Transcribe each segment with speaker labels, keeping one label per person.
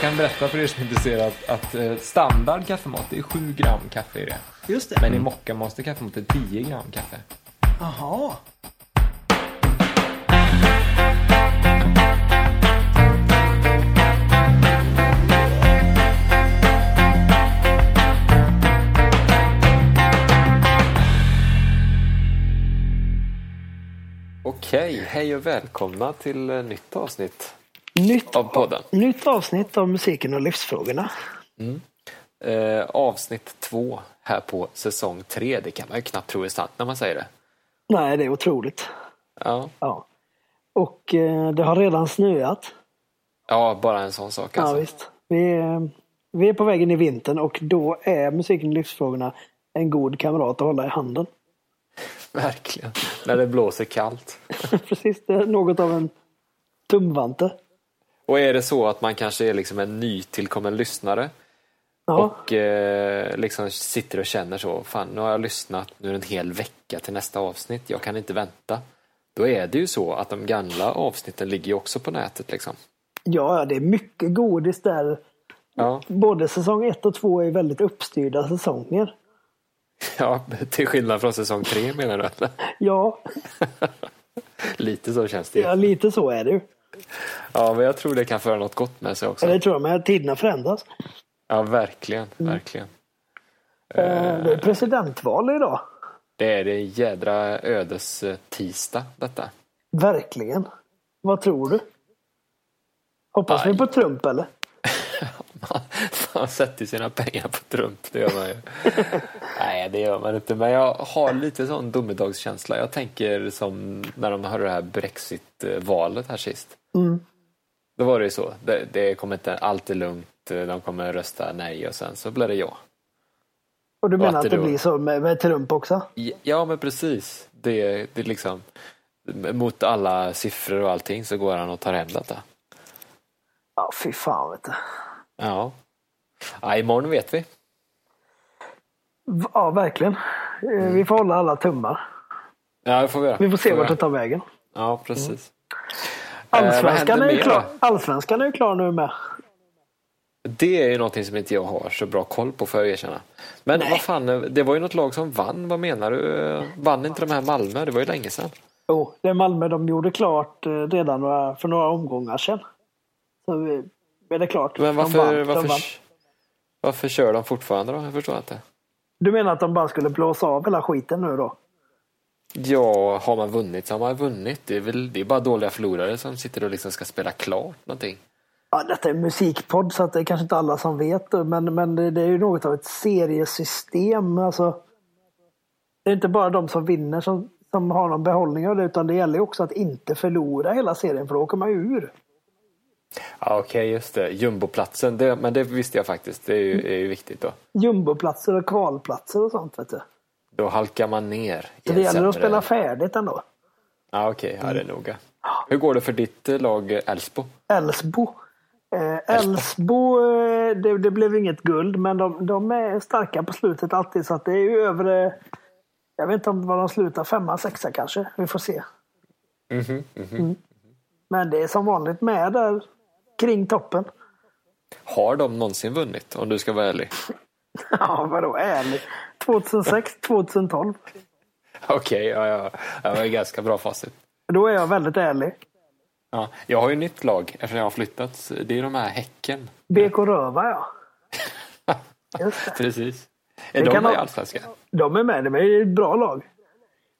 Speaker 1: kan berätta för er som är intresserade att, att eh, standard kaffemat är 7 gram kaffe i det.
Speaker 2: Just det.
Speaker 1: Men i Mocca Master kaffemat är 10 gram kaffe.
Speaker 2: Aha.
Speaker 1: Okej, hej och välkomna till eh, nytt avsnitt
Speaker 2: Nytt,
Speaker 1: av podden.
Speaker 2: nytt avsnitt av musiken och livsfrågorna.
Speaker 1: Eh, avsnitt två här på säsong tre. Det kan man ju knappt tro är sant när man säger det.
Speaker 2: Nej, det är otroligt.
Speaker 1: Ja,
Speaker 2: Ja. Och eh, det har redan snöat.
Speaker 1: ja bara en sån sak
Speaker 2: Ja,
Speaker 1: alltså.
Speaker 2: visst. Vi, är- vi är på väg in i vintern och då är musiken och livsfrågorna en god kamrat att hålla i handen.
Speaker 1: Verkligen. När det blåser kallt.
Speaker 2: Precis, det är något av en tumvante.
Speaker 1: Och är det så att man kanske är liksom en nytillkommen lyssnare
Speaker 2: Ja,
Speaker 1: och eh, liksom sitter och känner så, fan nu har jag lyssnat, nu är det en hel vecka till nästa avsnitt, jag kan inte vänta. Då är det ju så att de gamla avsnitten ligger ju också på nätet liksom.
Speaker 2: ja, det är mycket godis där.
Speaker 1: Ja,
Speaker 2: Både säsong ett och två är väldigt uppstyrda säsonger.
Speaker 1: ja till skillnad från säsong tre menar du? eller?
Speaker 2: Ja,
Speaker 1: Lite så känns det ju.
Speaker 2: ja lite så är det ju.
Speaker 1: Ja, men jag tror det kan föra något gott med sig
Speaker 2: Ja,
Speaker 1: också.
Speaker 2: det Mm. tror jag, men tiderna förändras.
Speaker 1: Ja, verkligen, verkligen.
Speaker 2: Eh, Det är presidentval idag.
Speaker 1: Det är det en jädra ödes eh, tisdag detta.
Speaker 2: Verkligen. Vad tror du? Hoppas
Speaker 1: Aj.
Speaker 2: vi på Trump eller?
Speaker 1: Man, man sätter sina pengar på Trump, det gör man ju. Nej, det gör man inte. Men jag har lite sån domedagskänsla. Jag tänker som när de hörde det här Brexit-valet här sist.
Speaker 2: Mm.
Speaker 1: Då var det ju så. Det, det kommer inte, allt är lugnt, de kommer rösta nej och sen så blir det ja.
Speaker 2: Och du
Speaker 1: Ja,
Speaker 2: menar att
Speaker 1: det
Speaker 2: det
Speaker 1: då.
Speaker 2: blir så med, med Trump också?
Speaker 1: Ja, men precis. Det, det är liksom, mot alla siffror och allting så går han och tar hem detta.
Speaker 2: Ja, fy fan vet du.
Speaker 1: Ja. ja imorgon vet vi.
Speaker 2: V- Ja, verkligen. Eh,
Speaker 1: Mm.
Speaker 2: Vi får hålla alla tummar.
Speaker 1: Ja, det får vi göra.
Speaker 2: Vi får se
Speaker 1: Får vi
Speaker 2: vart det
Speaker 1: göra.
Speaker 2: tar vägen.
Speaker 1: Ja, precis. Eh, vad
Speaker 2: Allsvenskan
Speaker 1: händer
Speaker 2: är, ju
Speaker 1: mer
Speaker 2: klar.
Speaker 1: då?
Speaker 2: Allsvenskan är ju klar nu med.
Speaker 1: Det är ju någonting som inte jag har så bra koll på, får jag erkänna. Men vad fan, det var ju något lag som vann. Vad menar du? Vann inte de här Malmö? Det var ju länge sedan.
Speaker 2: Jo, det är Malmö. De gjorde klart eh, redan några, för några omgångar sedan. Så vi- är det klart.
Speaker 1: Men varför,
Speaker 2: de vann, de
Speaker 1: varför,
Speaker 2: vann.
Speaker 1: varför kör de fortfarande då? Jag förstår inte.
Speaker 2: Du menar att de bara skulle blåsa av hela skiten nu då?
Speaker 1: Ja, har man vunnit så har man vunnit. Det är, väl, det är bara dåliga förlorare som sitter och liksom ska spela klart någonting.
Speaker 2: Ja, detta är en musikpodd så att det är kanske inte alla som vet det, men, men det, det är ju något av ett seriesystem. Alltså, det är inte bara de som vinner som, som har någon behållning av det utan det gäller ju också att inte förlora hela serien för då åker man ju ur.
Speaker 1: Ja, Okej, just det. Jumboplatsen, det, men det visste jag faktiskt. Det är ju, är ju viktigt då.
Speaker 2: Jumboplatser och kvalplatser och sånt vet du.
Speaker 1: Då halkar man ner. i
Speaker 2: Så det
Speaker 1: en
Speaker 2: gäller att
Speaker 1: sämre-
Speaker 2: spela Mm. färdigt ändå.
Speaker 1: Ja, Okej, ja, det är noga. Hur går det för ditt eh, lag eh, Elfsbo?
Speaker 2: Älvsbo. Eh, Älvsbo, eh, det, det blev inget guld, men de, de är starka på slutet alltid. Så att det är ju över... eh, Jag vet inte om vad de slutar, femma, sexa kanske. Vi får se. Mm. Men det är som vanligt med där kring toppen.
Speaker 1: Har de någonsin vunnit, om du ska vara ärlig?
Speaker 2: Ja, vadå ärligt? 2006, 2012.
Speaker 1: Okej, ja, ja. ja, det var ju ganska bra facit.
Speaker 2: Då är jag väldigt ärlig.
Speaker 1: Ja, jag har ju nytt lag eftersom jag har flyttat. Det är de här Häcken.
Speaker 2: BK Röva, ja. Just det.
Speaker 1: Precis. Är
Speaker 2: Det
Speaker 1: de
Speaker 2: kan
Speaker 1: med i
Speaker 2: ha-
Speaker 1: Allsvenskan?
Speaker 2: De är med, de är ett bra lag.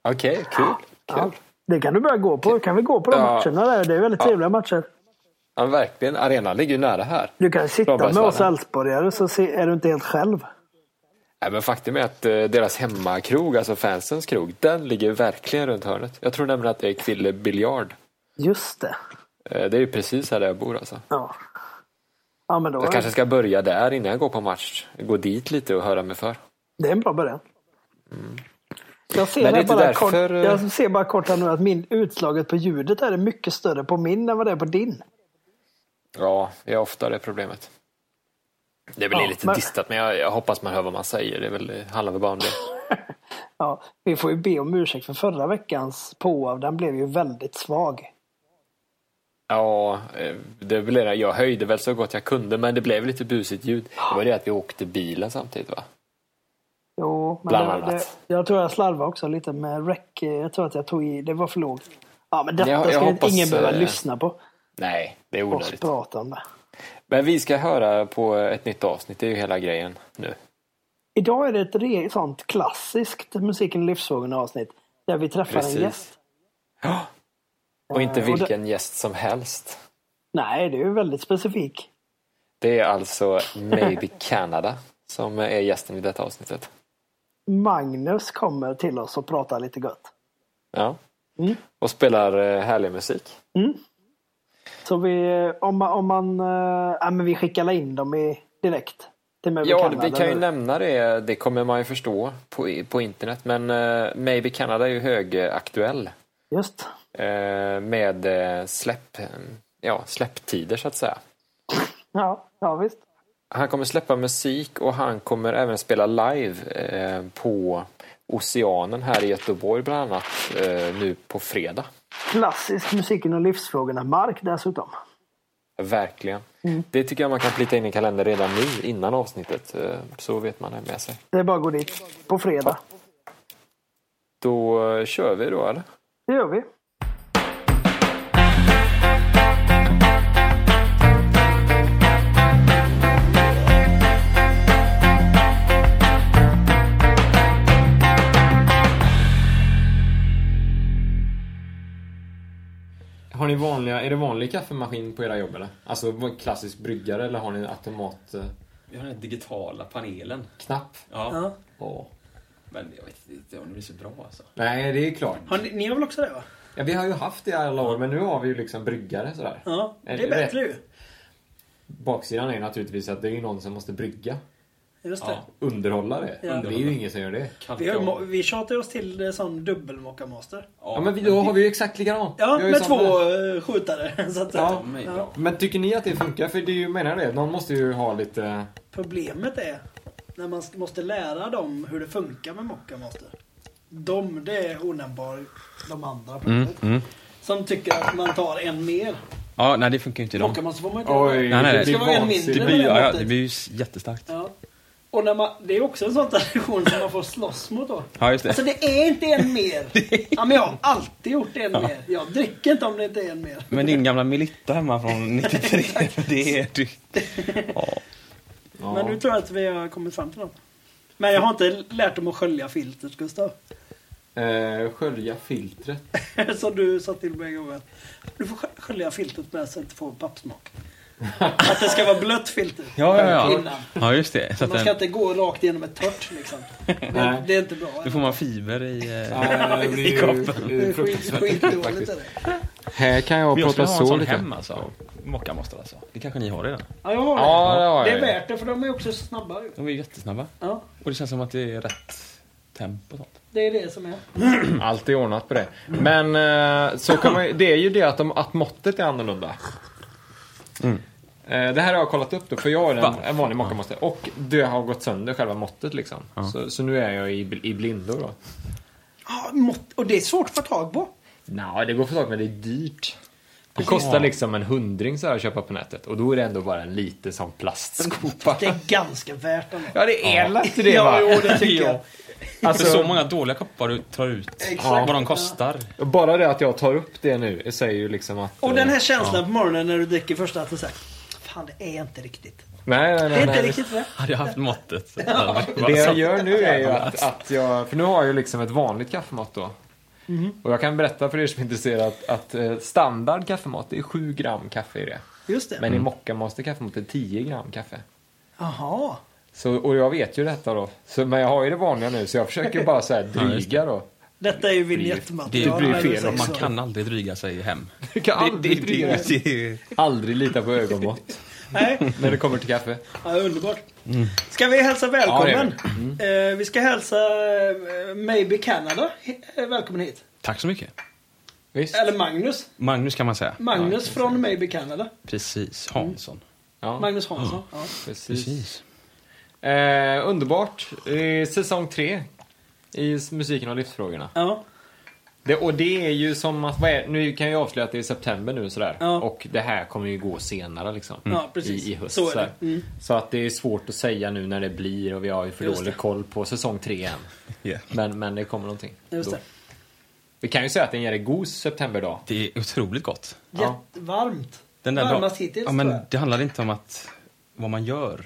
Speaker 1: Okej, kul.
Speaker 2: Ja,
Speaker 1: kul.
Speaker 2: det kan du börja gå på. Kan vi gå på de
Speaker 1: Ja.
Speaker 2: matcherna där? Det är väldigt trevliga matcher.
Speaker 1: Ja, verkligen. Arenan ligger ju nära här.
Speaker 2: Du kan sitta med
Speaker 1: Blåbärsvallen.
Speaker 2: oss Elfsborgare så se- är du inte helt själv.
Speaker 1: Nej, men faktum är att eh, deras hemmakrog, alltså fansens krog, den ligger verkligen runt hörnet. Jag tror nämligen att det är Kville Biljard.
Speaker 2: Just det.
Speaker 1: Eh, Det är ju precis här där jag bor alltså.
Speaker 2: Ja. Ja men då.
Speaker 1: Jag kanske ska börja där innan jag går på match. Gå dit lite och höra mig för.
Speaker 2: Det är en bra början. Jag ser,
Speaker 1: Mm. Men det är
Speaker 2: här
Speaker 1: inte
Speaker 2: bara
Speaker 1: därför,
Speaker 2: kort,
Speaker 1: eh,
Speaker 2: jag ser bara kort här nu att min, utslaget på ljudet här är mycket större på min än vad det är på din.
Speaker 1: Ja, jag har ofta det problemet. Det blir
Speaker 2: Ja,
Speaker 1: lite
Speaker 2: men-
Speaker 1: distat, men jag, jag hoppas man hör vad man säger. Det är väl, det handlar väl bara om det.
Speaker 2: Ja, vi får ju be om ursäkt för förra veckans påav. Den blev ju väldigt svag.
Speaker 1: Ja, eh, det blev, det. jag höjde väl så gott jag kunde men det blev lite busigt ljud. Det var det att vi åkte bilen samtidigt va?
Speaker 3: Jo, men
Speaker 1: Bland
Speaker 3: det,
Speaker 1: annat.
Speaker 3: Det, jag tror jag slarvade också lite med rec. Jag tror att jag tog i. Det var för lågt. Ja, men detta
Speaker 1: Jag- jag
Speaker 3: ska
Speaker 1: hoppas,
Speaker 3: ingen behöva
Speaker 1: eh,
Speaker 3: lyssna på.
Speaker 1: Nej, det är
Speaker 3: Oss
Speaker 1: onödigt.
Speaker 3: prata om det.
Speaker 1: Men vi ska höra på ett nytt avsnitt, det är ju hela grejen nu.
Speaker 3: Idag är det ett re, sånt klassiskt Musiken livsfrågorna avsnitt. Där vi träffar
Speaker 1: Precis.
Speaker 3: en gäst.
Speaker 1: Ja. Och inte
Speaker 3: Eh, och det-
Speaker 1: vilken gäst som helst.
Speaker 3: Nej, det är ju väldigt specifik.
Speaker 1: Det är alltså Maybe Canada som är gästen i detta avsnittet.
Speaker 3: Magnus kommer till oss och pratar lite gött.
Speaker 1: Ja.
Speaker 3: Mm.
Speaker 1: Och spelar eh, härlig musik.
Speaker 3: Så vi, om man, om man eh, ja, men vi skickar la in dem i, direkt. Till Möbel
Speaker 1: Ja,
Speaker 3: Canada
Speaker 1: vi kan ju
Speaker 3: nu.
Speaker 1: nämna det, det kommer man ju förstå på, på internet. Men eh, Maybe Canada är ju högaktuell
Speaker 3: Just.
Speaker 1: eh, med eh, släpp, eh, ja, släpptider så att säga.
Speaker 3: Ja, ja visst.
Speaker 1: Han kommer släppa musik och han kommer även spela live eh, på Oceanen här i Göteborg bland annat eh, nu på fredag.
Speaker 3: Klassisk musiken och livsfrågorna. Mark dessutom.
Speaker 1: Verkligen. Det tycker jag man kan plita in i kalendern redan nu innan avsnittet. eh, Så vet man det med sig.
Speaker 3: Det är bara att gå dit. På fredag.
Speaker 1: Då eh, kör vi då eller?
Speaker 3: Det gör vi.
Speaker 1: Har ni vanliga, är det vanlig kaffemaskin på era jobb eller? Alltså klassisk bryggare eller har ni eh, automatknapp?
Speaker 4: Vi har den här digitala panelen. Ja. Men jag vet inte om det blir så bra alltså.
Speaker 1: Nej, det är klart.
Speaker 2: Har ni, ni har väl också det va?
Speaker 1: Ja, vi har ju haft det i alla år men nu har vi ju liksom bryggare sådär.
Speaker 2: Ja, det
Speaker 1: Eller
Speaker 2: är bättre ju.
Speaker 1: Baksidan är ju naturligtvis att det är ju någon som måste brygga.
Speaker 2: Just det.
Speaker 4: Ja.
Speaker 1: Underhålla det.
Speaker 2: Ja.
Speaker 1: Det är ju ingen som gör det.
Speaker 4: Kan
Speaker 2: Vi, har,
Speaker 4: ja,
Speaker 2: ju mo- vi tjatar oss till eh, sån dubbelmocka master.
Speaker 1: Ja, men vi, då har vi ju exakt likadant.
Speaker 2: Ja,
Speaker 1: Vi har ju
Speaker 2: med
Speaker 1: samma-
Speaker 2: två eh, skjutare. Så att, säga.
Speaker 1: Ja.
Speaker 4: mig
Speaker 2: Ja.
Speaker 4: bra.
Speaker 1: Men tycker ni att det funkar? För det är ju, menar det, någon måste ju ha lite...
Speaker 2: Problemet är när man s- måste lära dem hur det funkar med mocka master. De, det är onämnbar de andra
Speaker 1: Mm,
Speaker 2: problemet. Som tycker att man tar en mer.
Speaker 4: Ja, nej det funkar ju inte idag.
Speaker 2: Mocka master får man inte
Speaker 1: Oj,
Speaker 2: göra.
Speaker 4: Nej, nej,
Speaker 1: det
Speaker 4: det
Speaker 1: blir
Speaker 2: ska vara en
Speaker 1: vansinnigt.
Speaker 2: mindre.
Speaker 4: Det blir, ja, ja,
Speaker 2: måttet.
Speaker 4: det blir ju s- jättestarkt.
Speaker 2: Ja. Och när man, det är också en sån tradition som man får slåss mot då.
Speaker 4: Ja, just
Speaker 2: Alltså
Speaker 4: det.
Speaker 2: det är inte en mer. Ja, men jag har alltid gjort en mer. Jag dricker inte om det inte är en mer.
Speaker 4: Men din gamla Melitta hemma från 93, det är du. Ja.
Speaker 1: Ja.
Speaker 2: Men nu tror jag att vi har kommit fram till dem. Men jag har inte lärt dem att skölja filtret, Gustav.
Speaker 1: Eh, skölja filtret.
Speaker 2: Som du sa till mig en gång. att Du får skö- skölja filtret med så att du inte får pappsmak. Att det ska vara blött filter.
Speaker 4: Ja, ja, ja.
Speaker 2: Innan.
Speaker 4: Ja, just det. Så att
Speaker 2: Man ska
Speaker 4: den,
Speaker 2: inte gå rakt igenom ett torrt liksom.
Speaker 1: Nej.
Speaker 2: Det, det är inte bra.
Speaker 4: då får man fiber i... eh,
Speaker 1: Ja, det blir
Speaker 4: I kroppen.
Speaker 1: ju- eh, ju
Speaker 2: Det är skit,
Speaker 1: fruktansvärt
Speaker 2: skitdåligt
Speaker 1: faktiskt.
Speaker 2: är det.
Speaker 1: Här kan jag
Speaker 4: Men jag
Speaker 1: prata
Speaker 4: skulle ha en
Speaker 1: så
Speaker 4: sån
Speaker 1: lite.
Speaker 4: hem alltså. Mockamonster alltså. Det kanske ni har redan?
Speaker 2: Ja, jag har det.
Speaker 1: Ja, det har
Speaker 2: det
Speaker 1: jag
Speaker 2: är
Speaker 1: ju.
Speaker 2: värt det för de är också så snabba ju.
Speaker 4: De är ju jättesnabba.
Speaker 2: Ja,
Speaker 4: Och det känns som att det är rätt tempo och sånt.
Speaker 2: det är det som är.
Speaker 1: Allt är ordnat på det. Men eh, så kan man, ju- det är ju det att, de, att måttet är annorlunda. Eh, Det här har jag kollat upp då, för jag är en,
Speaker 4: Va?
Speaker 1: en vanlig mockamonster. Och det har gått sönder, själva måttet liksom. Så, så nu är jag i, bl- i blindo då.
Speaker 2: Ja, mått, och det är svårt att få tag på.
Speaker 1: Nej, det går för tag men det är dyrt. Det kostar liksom en hundring så här att köpa på nätet och då är det ändå bara en liten sån plastskopa.
Speaker 2: Det är ganska värt det.
Speaker 1: Ja, det är lätt i det
Speaker 2: Ja,
Speaker 1: va?
Speaker 2: jo, det tycker jag.
Speaker 1: Alltså,
Speaker 4: För så många dåliga koppar du tar ut.
Speaker 2: Exakt.
Speaker 4: Vad de kostar.
Speaker 1: Bara det att jag tar upp det nu säger ju liksom att...
Speaker 2: Och den
Speaker 1: eh,
Speaker 2: här känslan på morgonen när du dricker första att du säger Fan, det är inte riktigt.
Speaker 1: Nej, nej, nej.
Speaker 2: Det är inte
Speaker 1: nej.
Speaker 2: riktigt rätt.
Speaker 4: Hade jag haft måttet. så hade Det
Speaker 1: Det
Speaker 4: varit
Speaker 1: jag
Speaker 5: Alltså,
Speaker 4: så.
Speaker 1: gör nu är ju att, att jag... För nu har jag ju liksom ett vanligt kaffemat då. Och jag kan berätta för er som är intresserade att, att eh, standard kaffemat, det är 7 gram kaffe i det.
Speaker 2: Just det.
Speaker 1: Men i mockamaster kaffemat är 10 gram kaffe.
Speaker 2: Jaha.
Speaker 1: Så, och jag vet ju detta då. Så, men jag har ju det vanliga nu så jag försöker ju bara så här dryga då.
Speaker 2: Detta är ju
Speaker 4: Det,
Speaker 2: vinjettmaterial. Alltså.
Speaker 4: det blir
Speaker 2: när du
Speaker 4: fel.
Speaker 2: säger
Speaker 4: om Man
Speaker 2: så.
Speaker 4: kan aldrig dryga sig hem.
Speaker 1: Du kan aldrig
Speaker 4: det,
Speaker 1: dryga.
Speaker 4: det, det,
Speaker 1: Aldrig lita på ögonmått
Speaker 2: Nej,
Speaker 1: när det kommer till kaffe.
Speaker 2: ja, underbart. Ska vi hälsa välkommen?
Speaker 1: Ja,
Speaker 2: Eh, vi ska hälsa eh, Maybe Canada he- eh, välkommen hit.
Speaker 4: Tack så mycket.
Speaker 1: Visst?
Speaker 2: Eller Magnus.
Speaker 4: Magnus kan man säga.
Speaker 2: Magnus från Maybe Canada.
Speaker 4: Precis. Hansson.
Speaker 1: Ja,
Speaker 2: Magnus Hansson. Ja.
Speaker 1: precis.
Speaker 4: Precis.
Speaker 1: Eh, underbart. Eh, säsong tre i s- musiken och livsfrågorna.
Speaker 2: ja.
Speaker 1: Det, och det är ju som att, vad är, nu kan jag ju avslöja att det är september nu sådär.
Speaker 2: Ja.
Speaker 1: Och det här kommer ju gå senare liksom.
Speaker 2: Ja, precis.
Speaker 1: I, i höst.
Speaker 2: Så är det. Mm.
Speaker 1: sådär. Så att det är svårt att säga nu när det blir och vi har ju för
Speaker 2: Just
Speaker 1: dålig
Speaker 2: det.
Speaker 1: koll på säsong tre än.
Speaker 5: Yeah.
Speaker 1: Men, men det kommer någonting.
Speaker 2: Just
Speaker 1: då.
Speaker 2: det.
Speaker 1: Vi kan ju säga att det är en jävligt god septemberdag.
Speaker 5: Det är otroligt gott.
Speaker 1: Ja.
Speaker 2: Jättevarmt.
Speaker 5: Den där
Speaker 2: Varmast
Speaker 5: dagen-
Speaker 2: hittills
Speaker 5: ja, men
Speaker 2: tror jag.
Speaker 5: Det handlar inte om att vad man gör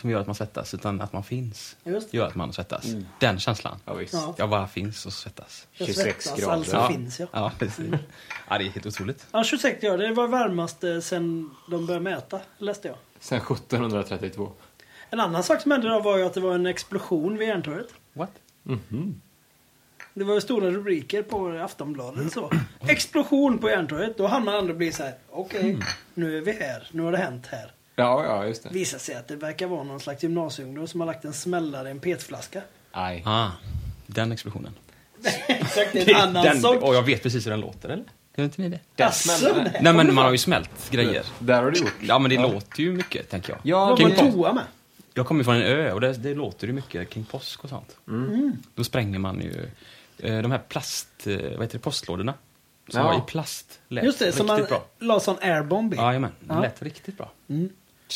Speaker 5: som gör att man svettas, utan att man finns
Speaker 2: Just det.
Speaker 5: gör att man svettas.
Speaker 4: Mm.
Speaker 5: Den känslan.
Speaker 1: Ja, visst.
Speaker 2: Ja.
Speaker 5: Jag bara finns och svettas.
Speaker 2: Jag
Speaker 1: 26
Speaker 2: svettas,
Speaker 1: grader.
Speaker 2: Alltså
Speaker 1: Ja.
Speaker 2: finns jag.
Speaker 5: Ja, precis. Ja, det är helt otroligt.
Speaker 2: Ja, 26 grader. Det var varmaste sen de började mäta, läste jag.
Speaker 1: Sen 1732.
Speaker 2: En annan sak som hände då var ju att det var en explosion vid Järntorget.
Speaker 5: What?
Speaker 2: Det var ju stora rubriker på Aftonbladet så. Explosion på Järntorget. Då hann man ändå bli så här. okej, nu är vi här. Nu har det hänt här.
Speaker 1: Ja, ja, just det.
Speaker 2: Visar sig att det verkar vara någon slags gymnasieungdom som har lagt en smällare i en petflaska.
Speaker 1: Aj.
Speaker 5: Ah, den explosionen.
Speaker 2: Exakt, det är en annan
Speaker 5: den,
Speaker 2: sak.
Speaker 5: och jag vet precis hur den låter, eller? Gör inte ni det?
Speaker 2: Alltså, nej.
Speaker 5: Nej, men man har ju smält grejer.
Speaker 1: eh, Där har du gjort.
Speaker 5: Ja, men det låter ju mycket, tänker jag.
Speaker 1: Ja,
Speaker 2: Vad
Speaker 1: King
Speaker 2: var
Speaker 1: Kong.
Speaker 2: toa med?
Speaker 5: Jag kommer ju från en ö och det, det låter ju mycket kring påsk och sånt.
Speaker 2: Mm.
Speaker 5: Då spränger man ju eh, de här plast... eh, Vad heter det? Postlådorna. Som
Speaker 1: Ja.
Speaker 5: var i plast. Lät
Speaker 2: Just det,
Speaker 5: riktigt
Speaker 2: som man
Speaker 5: bra.
Speaker 2: la sån airbomb i.
Speaker 5: Ja, jajamän, det
Speaker 2: Ja. Mm.
Speaker 5: lät riktigt bra.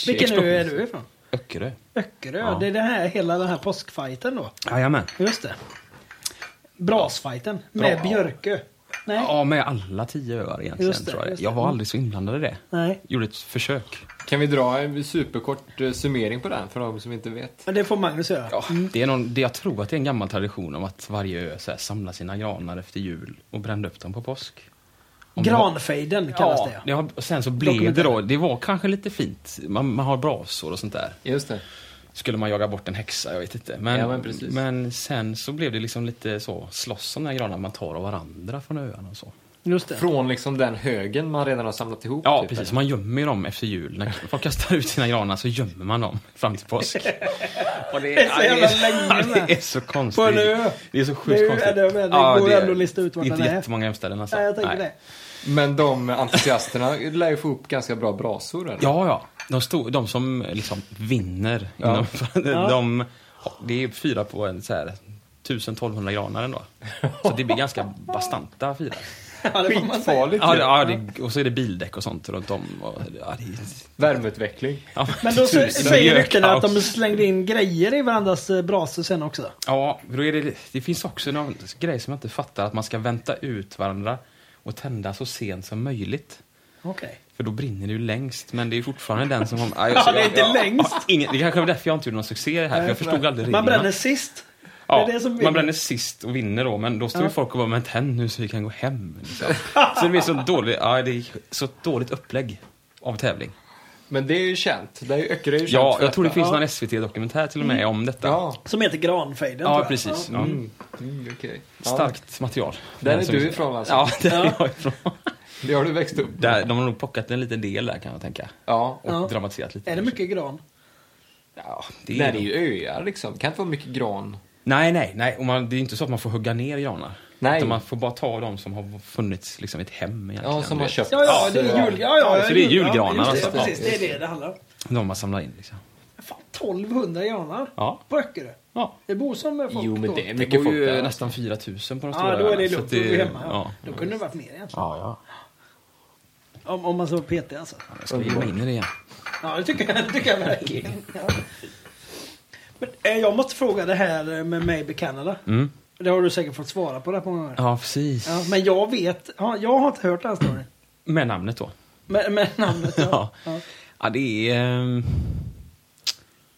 Speaker 2: Vilken
Speaker 5: Explosion.
Speaker 2: ö är du ifrån?
Speaker 5: Öckerö.
Speaker 2: Öckerö.
Speaker 5: Ja.
Speaker 2: Det är det här, hela den här påskfajten då.
Speaker 5: Jajamän.
Speaker 2: Just det. Brasfajten med
Speaker 5: Bra.
Speaker 2: Björkö. Nej.
Speaker 5: Ja, med alla tio öar egentligen
Speaker 2: Just det,
Speaker 5: tror jag
Speaker 2: just
Speaker 5: det.
Speaker 2: det. Mm.
Speaker 5: Jag var aldrig så inblandad i det.
Speaker 2: Nej.
Speaker 5: Gjorde ett försök.
Speaker 1: Kan vi dra en superkort eh, summering på den för de som inte vet?
Speaker 2: Men det får Magnus göra.
Speaker 5: Ja, det är någon, det jag tror att det är en gammal tradition om att varje ö så här, samlar sina granar efter jul och brände upp dem på påsk. Om det var-
Speaker 2: Granfejden kallas det ja.
Speaker 5: det har, och sen så blev det då, det var kanske lite fint, man, man har brasor och sånt där.
Speaker 1: Just det.
Speaker 5: Skulle man jaga bort en häxa, jag vet inte. Men,
Speaker 1: Ja, men precis.
Speaker 5: men sen så blev det liksom lite så, slåss om de här granarna, man tar av varandra från öarna och så.
Speaker 2: Just det.
Speaker 1: Från liksom den högen man redan har samlat ihop.
Speaker 5: Ja,
Speaker 1: typ,
Speaker 5: precis.
Speaker 1: eller?
Speaker 5: Man gömmer ju dem efter jul. När folk kastar ut sina granar så gömmer man dem fram till påsk. Och det,
Speaker 2: är så jävla
Speaker 5: ja,
Speaker 2: länge
Speaker 5: det är så konstigt.
Speaker 2: På en ö.
Speaker 5: Det är så
Speaker 2: Det är ju-
Speaker 5: sjukt konstigt.
Speaker 2: det är- det går ju ändå att lista ut vart
Speaker 5: Inte
Speaker 2: den är.
Speaker 5: jättemånga gömställen alltså.
Speaker 2: Ja, jag tänker
Speaker 5: Nej.
Speaker 2: det.
Speaker 1: Men de entusiasterna lär ju få upp ganska bra brasor. Eller?
Speaker 5: Ja, ja. De, stod, de som liksom vinner. Inom, de, det är fyra på en så här 1000-1200 granar ändå. Så det blir ganska bastanta fyra.
Speaker 2: Ja, det får man säga.
Speaker 1: Skitfarligt
Speaker 5: Ja,
Speaker 1: ju.
Speaker 5: det, ja, det, och så är det bildäck och sånt runt om. Och, ja, det,
Speaker 1: Värmeutveckling.
Speaker 5: ja,
Speaker 2: Men då så,
Speaker 5: tusen
Speaker 2: säger ryktena att
Speaker 5: miljökaos.
Speaker 2: de slängde in grejer i varandras eh, brasor sen också.
Speaker 5: Ja, då är det, det finns också någon grej som jag inte fattar, att man ska vänta ut varandra och tända så sent som möjligt.
Speaker 2: Okej.
Speaker 5: För då brinner det ju längst, men det är ju fortfarande den som... Har,
Speaker 2: Ja, det är inte längst.
Speaker 5: Ingen, det kanske var därför jag inte gjorde någon succé i det här, för jag förstod aldrig reglerna.
Speaker 2: Man bränner sist.
Speaker 5: ja,
Speaker 2: det är det som vinner.
Speaker 5: man bränner sist och vinner då, men då står ju folk och bara men tänd nu så vi kan gå hem. Liksom. Så det blir så dåligt, ja, det är så dåligt upplägg av tävling.
Speaker 1: Men det är ju känt. Det är ju Öckerö är ju känt
Speaker 5: Ja,
Speaker 1: för
Speaker 5: jag tror det
Speaker 1: detta.
Speaker 5: finns någon SVT-dokumentär till och med om detta. Ja,
Speaker 1: Ja,
Speaker 2: Som heter Granfejden tror Mm. jag.
Speaker 5: precis. Ja.
Speaker 1: mm, okej. Ja.
Speaker 5: Starkt material.
Speaker 1: Där
Speaker 5: Den
Speaker 1: är
Speaker 5: som-
Speaker 1: du ifrån alltså?
Speaker 5: Ja, där är jag ifrån.
Speaker 1: Det har du växt upp med?
Speaker 5: Där, de har nog plockat en liten del där kan jag tänka.
Speaker 1: Ja.
Speaker 5: Och
Speaker 2: Ja.
Speaker 5: dramatiserat lite.
Speaker 2: Är det mycket gran?
Speaker 5: Ja, det är
Speaker 1: Det är ju öar liksom. Det kan inte vara mycket gran.
Speaker 5: Nej, nej, nej. Och man, det är inte så att man får hugga ner granar.
Speaker 1: Nej.
Speaker 5: Utan man får bara ta de som har funnits liksom i ett hem egentligen.
Speaker 1: Ja, som
Speaker 5: du
Speaker 1: har
Speaker 5: vet.
Speaker 1: köpt.
Speaker 2: Ja, ja, det är jul... Ja, ja,
Speaker 5: Ja, så det är
Speaker 2: jul-
Speaker 5: julgranar
Speaker 2: ja, just det,
Speaker 5: alltså.
Speaker 2: Precis,
Speaker 5: Ja,
Speaker 2: det är det det handlar om.
Speaker 5: De man samlar in liksom.
Speaker 2: Fan, 1200 granar
Speaker 5: Ja.
Speaker 2: på Öckerö.
Speaker 5: Ja.
Speaker 2: Det bor som folk
Speaker 1: Jo, men
Speaker 2: då.
Speaker 1: det är
Speaker 5: Det
Speaker 1: mycket
Speaker 5: bor
Speaker 1: folk
Speaker 5: ju
Speaker 1: där. alltså.
Speaker 5: nästan 4000 på de stora
Speaker 2: Ja, då är det
Speaker 5: öarna, så
Speaker 2: lugnt.
Speaker 5: att
Speaker 2: Då är vi hemma. Ja.
Speaker 5: Ja.
Speaker 2: Då kunde det varit mer egentligen.
Speaker 5: Ja, ja.
Speaker 2: Om, om man så var petig alltså.
Speaker 5: Jag ska ge mig in i det igen.
Speaker 2: Ja, det tycker jag, det tycker jag verkligen. Ja. Men eh, jag måste fråga det här eh, med Maybe Canada.
Speaker 5: Mm.
Speaker 2: Det har du säkert fått svara på det här många gånger.
Speaker 5: Ja, precis.
Speaker 2: Ja, men jag vet, ja, jag har inte hört den här storyn.
Speaker 5: Med namnet då.
Speaker 2: Men, men namnet ja.
Speaker 5: Ja. Ja, det är... ehm,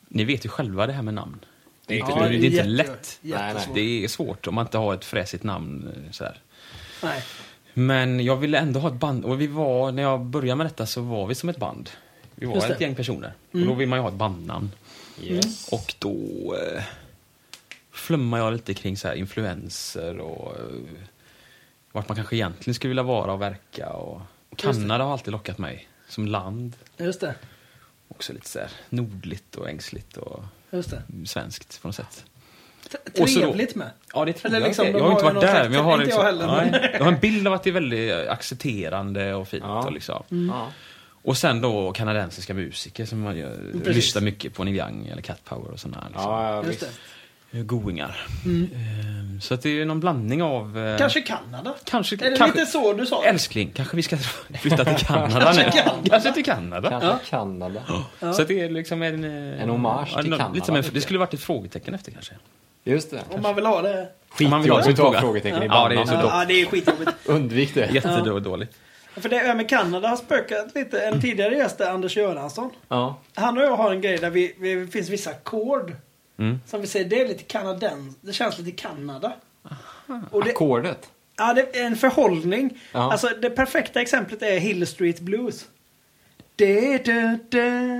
Speaker 5: Ni vet ju själva det här med namn. Det är inte,
Speaker 2: Ja,
Speaker 5: det är inte
Speaker 2: jätte-
Speaker 5: lätt.
Speaker 2: jättesvårt.
Speaker 5: Det är svårt om man inte har ett fräsigt namn. eh, Så här.
Speaker 2: Nej.
Speaker 5: Men jag ville ändå ha ett band. Och vi var, när jag började med detta så var vi som ett band. Vi var
Speaker 2: Just
Speaker 5: ett
Speaker 2: det. Mm.
Speaker 5: gäng personer. Och då vill man ju ha ett bandnamn. Och då eh, flummar jag lite kring så här influenser och eh, vart man kanske egentligen skulle vilja vara och verka. Och, och Kanada har alltid lockat mig som land.
Speaker 2: Just det.
Speaker 5: Också lite så här nordligt och ängsligt och
Speaker 2: Just det.
Speaker 5: svenskt på något sätt.
Speaker 2: T-
Speaker 5: Och så då-
Speaker 2: Trevligt med.
Speaker 5: Ja, det tror
Speaker 2: Eller
Speaker 5: jag.
Speaker 2: liksom,
Speaker 5: jag
Speaker 2: de
Speaker 5: har ju inte
Speaker 2: har
Speaker 5: varit
Speaker 2: ju någon
Speaker 5: där, men jag har,
Speaker 2: slags-
Speaker 5: liksom,
Speaker 2: inte jag heller,
Speaker 5: nej, jag har en bild av att det är väldigt accepterande och fint.
Speaker 1: Ja.
Speaker 5: Och, liksom.
Speaker 1: Ja.
Speaker 5: och sen då kanadensiska musiker som man gör,
Speaker 2: Precis.
Speaker 5: lyssnar mycket på Neil Young eller Cat Power och sådana. Liksom.
Speaker 1: Ja, ja,
Speaker 2: Just
Speaker 1: visst.
Speaker 2: det.
Speaker 5: eh, goingar.
Speaker 1: Mm.
Speaker 5: Eh, Så att det är någon blandning av... eh,
Speaker 2: Kanske Kanada?
Speaker 5: Kanske,
Speaker 2: Är det
Speaker 5: kanske,
Speaker 2: lite så du sa?
Speaker 5: Älskling, kanske vi ska flytta till Kanada nu. Kanske till Kanada.
Speaker 1: Kanske Kanada.
Speaker 5: Så att det är liksom en... eh,
Speaker 1: En hommage till
Speaker 5: ja,
Speaker 1: Kanada,
Speaker 5: Lite som en,
Speaker 1: tycker
Speaker 5: det
Speaker 1: jag.
Speaker 5: skulle varit ett frågetecken efter kanske.
Speaker 1: Just det.
Speaker 2: Om man vill ha det?
Speaker 5: Om man vill ha
Speaker 1: Skitjobbigt
Speaker 5: sin
Speaker 1: att ha
Speaker 5: fråga.
Speaker 1: frågetecken i
Speaker 5: Ja, det är
Speaker 1: banan.
Speaker 5: så dock.
Speaker 2: Ja, det är skitjobbigt.
Speaker 1: Undvik det.
Speaker 5: Jättedåligt.
Speaker 2: För det här med Kanada har spökat lite.
Speaker 5: Mm.
Speaker 2: En tidigare gäst är Anders Göransson.
Speaker 1: Ja.
Speaker 2: Han och jag har en grej där vi, vi, det finns vissa ackord.
Speaker 5: Mm.
Speaker 2: Som vi säger, det är lite kanadens... Det känns lite Kanada. Och det,
Speaker 1: Ackordet.
Speaker 2: ja, det är en förhållning.
Speaker 1: Ja.
Speaker 2: Alltså det perfekta exemplet är Hill Street Blues. Da, da, da.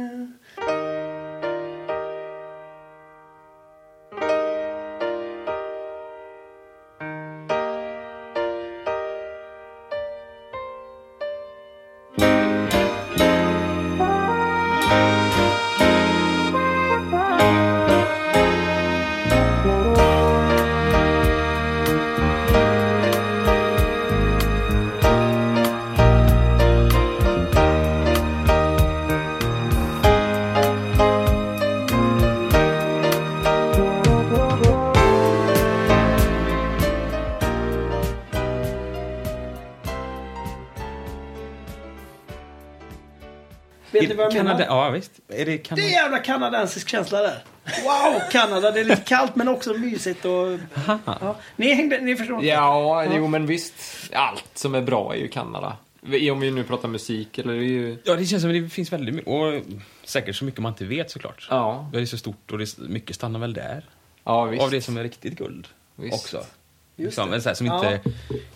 Speaker 2: Vet ni vad jag menar?
Speaker 5: Kanada, ja visst.
Speaker 2: Det
Speaker 5: Är det
Speaker 2: är en
Speaker 5: Kanada?
Speaker 2: jävla kanadensisk känsla där. Wow, Kanada. Det är lite kallt men också mysigt och... Ja. Ni hängde... Ni förstår?
Speaker 1: Ja, jo men visst. Allt som är bra är ju Kanada. Om vi nu pratar musik eller det är ju...
Speaker 5: Ja, det känns som det finns väldigt mycket. Och säkert så mycket man inte vet såklart.
Speaker 1: Ja,
Speaker 5: Det är så stort och det, är- mycket stannar väl där.
Speaker 1: ja visst.
Speaker 5: Av det som är riktigt guld
Speaker 1: Visst.
Speaker 5: också. Liksom, eller så här, som inte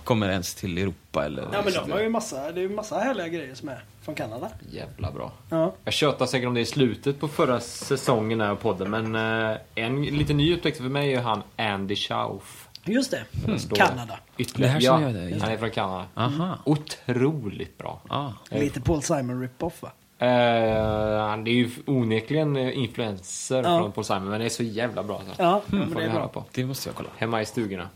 Speaker 5: kommer ens till Europa eller...
Speaker 2: Ja men de har ju massa... Det är ju massa härliga grejer som är från Kanada.
Speaker 1: Jävla bra.
Speaker 2: Ja.
Speaker 1: Jag tjötar säkert om det i slutet på förra säsongen här på podden, men eh, en lite ny upptäckt för mig är ju han Andy Schauf.
Speaker 2: Just det.
Speaker 1: Står
Speaker 2: Kanada.
Speaker 1: Ytterligare.
Speaker 5: Det här
Speaker 1: ja,
Speaker 5: känner jag det, just
Speaker 1: Han är från Kanada.
Speaker 5: Aha.
Speaker 1: Otroligt bra.
Speaker 5: Ah.
Speaker 2: Lite Paul Simon rip-off va?
Speaker 1: Hmm, Eh, han det är ju onekligen eh, influenser
Speaker 2: Ja.
Speaker 1: från Paul Simon, men det är så jävla bra. Så.
Speaker 2: Ja, Mm.
Speaker 1: får
Speaker 2: men det
Speaker 1: ni
Speaker 2: är
Speaker 1: höra
Speaker 2: bra.
Speaker 1: på.
Speaker 5: Det måste jag kolla.
Speaker 1: Hemma i stugorna.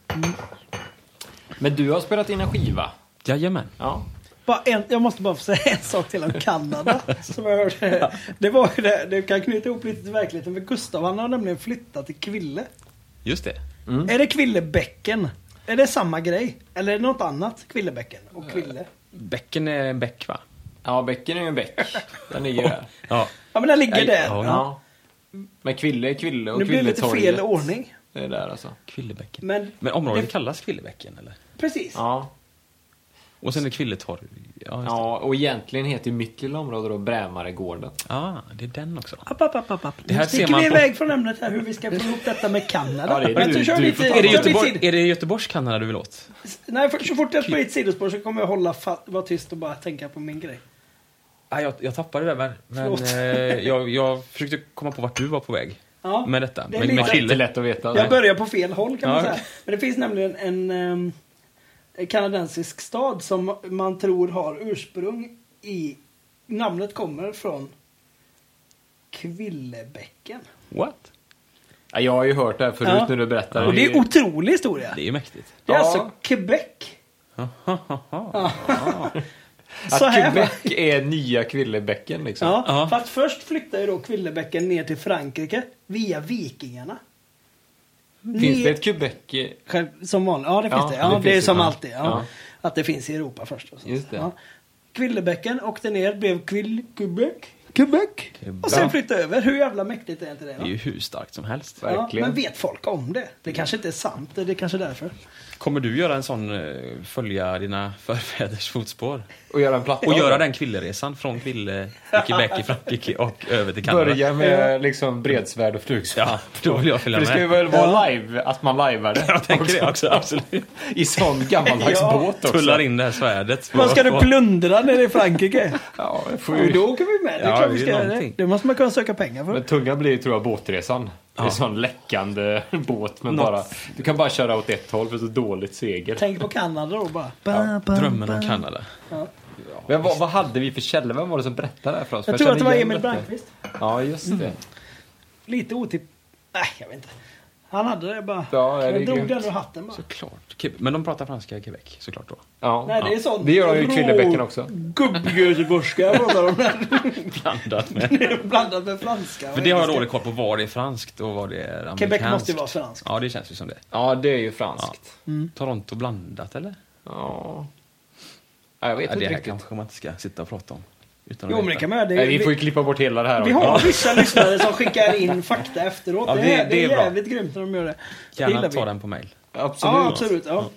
Speaker 1: Men du har spelat in en skiva.
Speaker 5: Jajamän.
Speaker 1: Ja.
Speaker 2: Bara en, jag måste bara få säga en sak till om Kanada. som jag hörde. Det var ju det, det kan knyta ihop lite till verkligheten. För Gustav han har nämligen flyttat till Kville.
Speaker 5: Just det.
Speaker 1: Mm.
Speaker 2: Är det Kvillebäcken? Är det samma grej? Eller är det något annat? Kvillebäcken och Kville?
Speaker 5: Bäcken är en bäck va?
Speaker 1: ja, bäcken är ju en bäck. Den ligger där.
Speaker 5: Ja.
Speaker 2: Ja men den ligger
Speaker 5: Nej,
Speaker 2: där.
Speaker 5: ja,
Speaker 1: Ja. Men Kville är Kville och
Speaker 2: nu blir det lite
Speaker 1: Kvilletorget.
Speaker 2: fel ordning.
Speaker 1: Det är där alltså.
Speaker 5: Kvillebäcken.
Speaker 2: Men
Speaker 5: Men området
Speaker 2: Det-
Speaker 5: kallas Kvillebäcken eller?
Speaker 2: precis.
Speaker 1: Ja.
Speaker 5: Och sen är Kvilletorg. Ja, just det.
Speaker 1: Ja, och egentligen heter ju mitt lilla område då Brämaregården.
Speaker 5: ah, det är den också.
Speaker 2: App, app, app, app, app.
Speaker 5: här
Speaker 2: Nu
Speaker 5: ser
Speaker 2: sticker
Speaker 5: man
Speaker 2: vi
Speaker 5: på-
Speaker 2: iväg från ämnet här hur vi ska få ihop detta med Kanada.
Speaker 1: Ja, det är
Speaker 2: Men
Speaker 1: du-
Speaker 2: så kör
Speaker 1: du
Speaker 2: vi
Speaker 1: får
Speaker 2: till-
Speaker 1: ta
Speaker 5: Är det,
Speaker 2: kör vi till-
Speaker 5: Göteborg, är det Göteborgs Kanada du vill åt?
Speaker 2: Nej, för, så fort jag får ett sidospår så kommer jag hålla fa- vara tyst och bara tänka på min grej.
Speaker 5: Ah, jag, jag tappade det där men,
Speaker 2: Förlåt.
Speaker 5: men eh, jag, jag försökte komma på vart du var på väg.
Speaker 2: Ja.
Speaker 5: Med detta.
Speaker 2: Det är
Speaker 5: Med,
Speaker 2: lite-
Speaker 5: med
Speaker 1: Det är inte
Speaker 5: Kville.
Speaker 1: lätt att veta.
Speaker 2: Jag börjar på fel håll kan man
Speaker 5: Ja,
Speaker 2: säga. Men det finns nämligen en ehm, kanadensisk stad som man tror har ursprung i... Namnet kommer från Kvillebäcken.
Speaker 5: What?
Speaker 1: Ja, jag har ju hört det här förut
Speaker 2: Ja.
Speaker 1: när du berättade.
Speaker 2: Och det är en otrolig historia.
Speaker 5: Det är ju mäktigt.
Speaker 2: Det är
Speaker 1: Ja.
Speaker 2: alltså Quebec. Så
Speaker 1: att
Speaker 2: här var
Speaker 1: Quebec är nya Kvillebäcken liksom.
Speaker 2: Ja,
Speaker 5: Ja.
Speaker 2: För att först flyttade ju då Kvillebäcken ner till Frankrike via vikingarna.
Speaker 1: Finns
Speaker 2: Ner-
Speaker 1: det ett Quebec? i-
Speaker 2: Själv, som vanligt. Ja, det finns
Speaker 1: Ja,
Speaker 2: det.
Speaker 1: det
Speaker 2: Ja, det,
Speaker 1: finns
Speaker 2: är
Speaker 1: det.
Speaker 2: som
Speaker 1: Ja.
Speaker 2: alltid. Ja.
Speaker 1: Ja.
Speaker 2: Att det finns i Europa först. Och sånt.
Speaker 1: Just det.
Speaker 2: Ja. Kvillebäcken åkte ner, blev Kvill... Quebec. Quebec. Och sen flyttade över. Hur jävla mäktigt är inte det?
Speaker 5: Det är
Speaker 2: Va?
Speaker 5: ju hur starkt som helst.
Speaker 2: Ja,
Speaker 1: Verkligen.
Speaker 2: men vet folk om det? Det kanske inte är sant. Det är kanske därför.
Speaker 5: Kommer du göra en sån, eh, följa dina förfäders fotspår?
Speaker 1: Och göra en platta.
Speaker 5: Och
Speaker 1: av
Speaker 5: göra
Speaker 1: det.
Speaker 5: den kvilleresan från Kville, till Quebec i Frankrike och över till Kanada.
Speaker 1: Börja med liksom bredsvärd och flugsvärd.
Speaker 5: Ja, då vill jag följa
Speaker 1: För det
Speaker 5: med.
Speaker 1: ska ju väl vara live, att man lajvar det.
Speaker 5: Jag tänker det också, absolut.
Speaker 1: I sån gammaldags
Speaker 2: Ja.
Speaker 1: båt också.
Speaker 5: Tullar in det här svärdet.
Speaker 2: Vad ska du plundra nere i Frankrike?
Speaker 1: Ja, det får
Speaker 2: Och
Speaker 1: ju...
Speaker 2: då åker vi med. Det är
Speaker 5: Ja,
Speaker 2: klart vi
Speaker 5: det är
Speaker 2: ska göra det.
Speaker 5: någonting.
Speaker 2: Det måste man kunna söka pengar för.
Speaker 1: Men tunga blir ju, tror jag båtresan. Det är en
Speaker 5: Ja.
Speaker 1: sån läckande båt men
Speaker 5: Något.
Speaker 1: bara... Du kan bara köra åt ett håll för så dåligt segel.
Speaker 2: Tänk på Kanada då bara.
Speaker 5: Drömmen om Kanada.
Speaker 1: Men vad, vad hade vi för källa? Vem var det som berättade det här för oss? För
Speaker 2: Jag tror att det
Speaker 1: känner
Speaker 2: var
Speaker 1: igen
Speaker 2: Emil
Speaker 1: detta.
Speaker 2: Brankvist.
Speaker 1: Ja, just det.
Speaker 2: Lite otipp... Nej, jag vet inte. Han hade det bara.
Speaker 6: Ja, är det
Speaker 2: jag drog
Speaker 6: grymt?
Speaker 2: den ur hatten bara.
Speaker 5: Såklart. Ke- Men de pratar franska i Quebec, såklart då.
Speaker 6: Ja.
Speaker 2: Nej, det är sånt.
Speaker 6: Det gör han ju i
Speaker 2: rå
Speaker 6: Kvillebäcken också.
Speaker 2: Gubbgöteborgska jag pratar om där.
Speaker 5: Blandat med.
Speaker 2: Blandat med franska.
Speaker 5: För det har jag dålig koll på vad det är franskt och vad det är amerikanskt.
Speaker 2: Quebec måste ju vara franskt. Mm.
Speaker 5: Ja, det känns ju som det.
Speaker 6: Ja, det är ju franskt.
Speaker 5: Toronto blandat eller?
Speaker 6: Ja. ja jag vet
Speaker 5: Ja, det
Speaker 6: inte
Speaker 5: här
Speaker 6: riktigt.
Speaker 5: kanske man inte ska sitta och prata om. Utan att
Speaker 2: Jo men det
Speaker 5: veta.
Speaker 2: kan man göra. Det-
Speaker 6: Nej, vi
Speaker 2: vi-
Speaker 6: får ju klippa bort hela det här.
Speaker 2: Vi har vissa lyssnare som skickar in fakta efteråt.
Speaker 5: Ja,
Speaker 2: det,
Speaker 5: det-
Speaker 2: är, det
Speaker 5: det är
Speaker 2: är
Speaker 5: bra.
Speaker 2: jävligt grymt när de gör det. det
Speaker 5: Gärna
Speaker 2: gillar
Speaker 5: ta
Speaker 2: vi.
Speaker 5: den på mail.
Speaker 6: Absolut.
Speaker 2: Ja, absolut. Ja.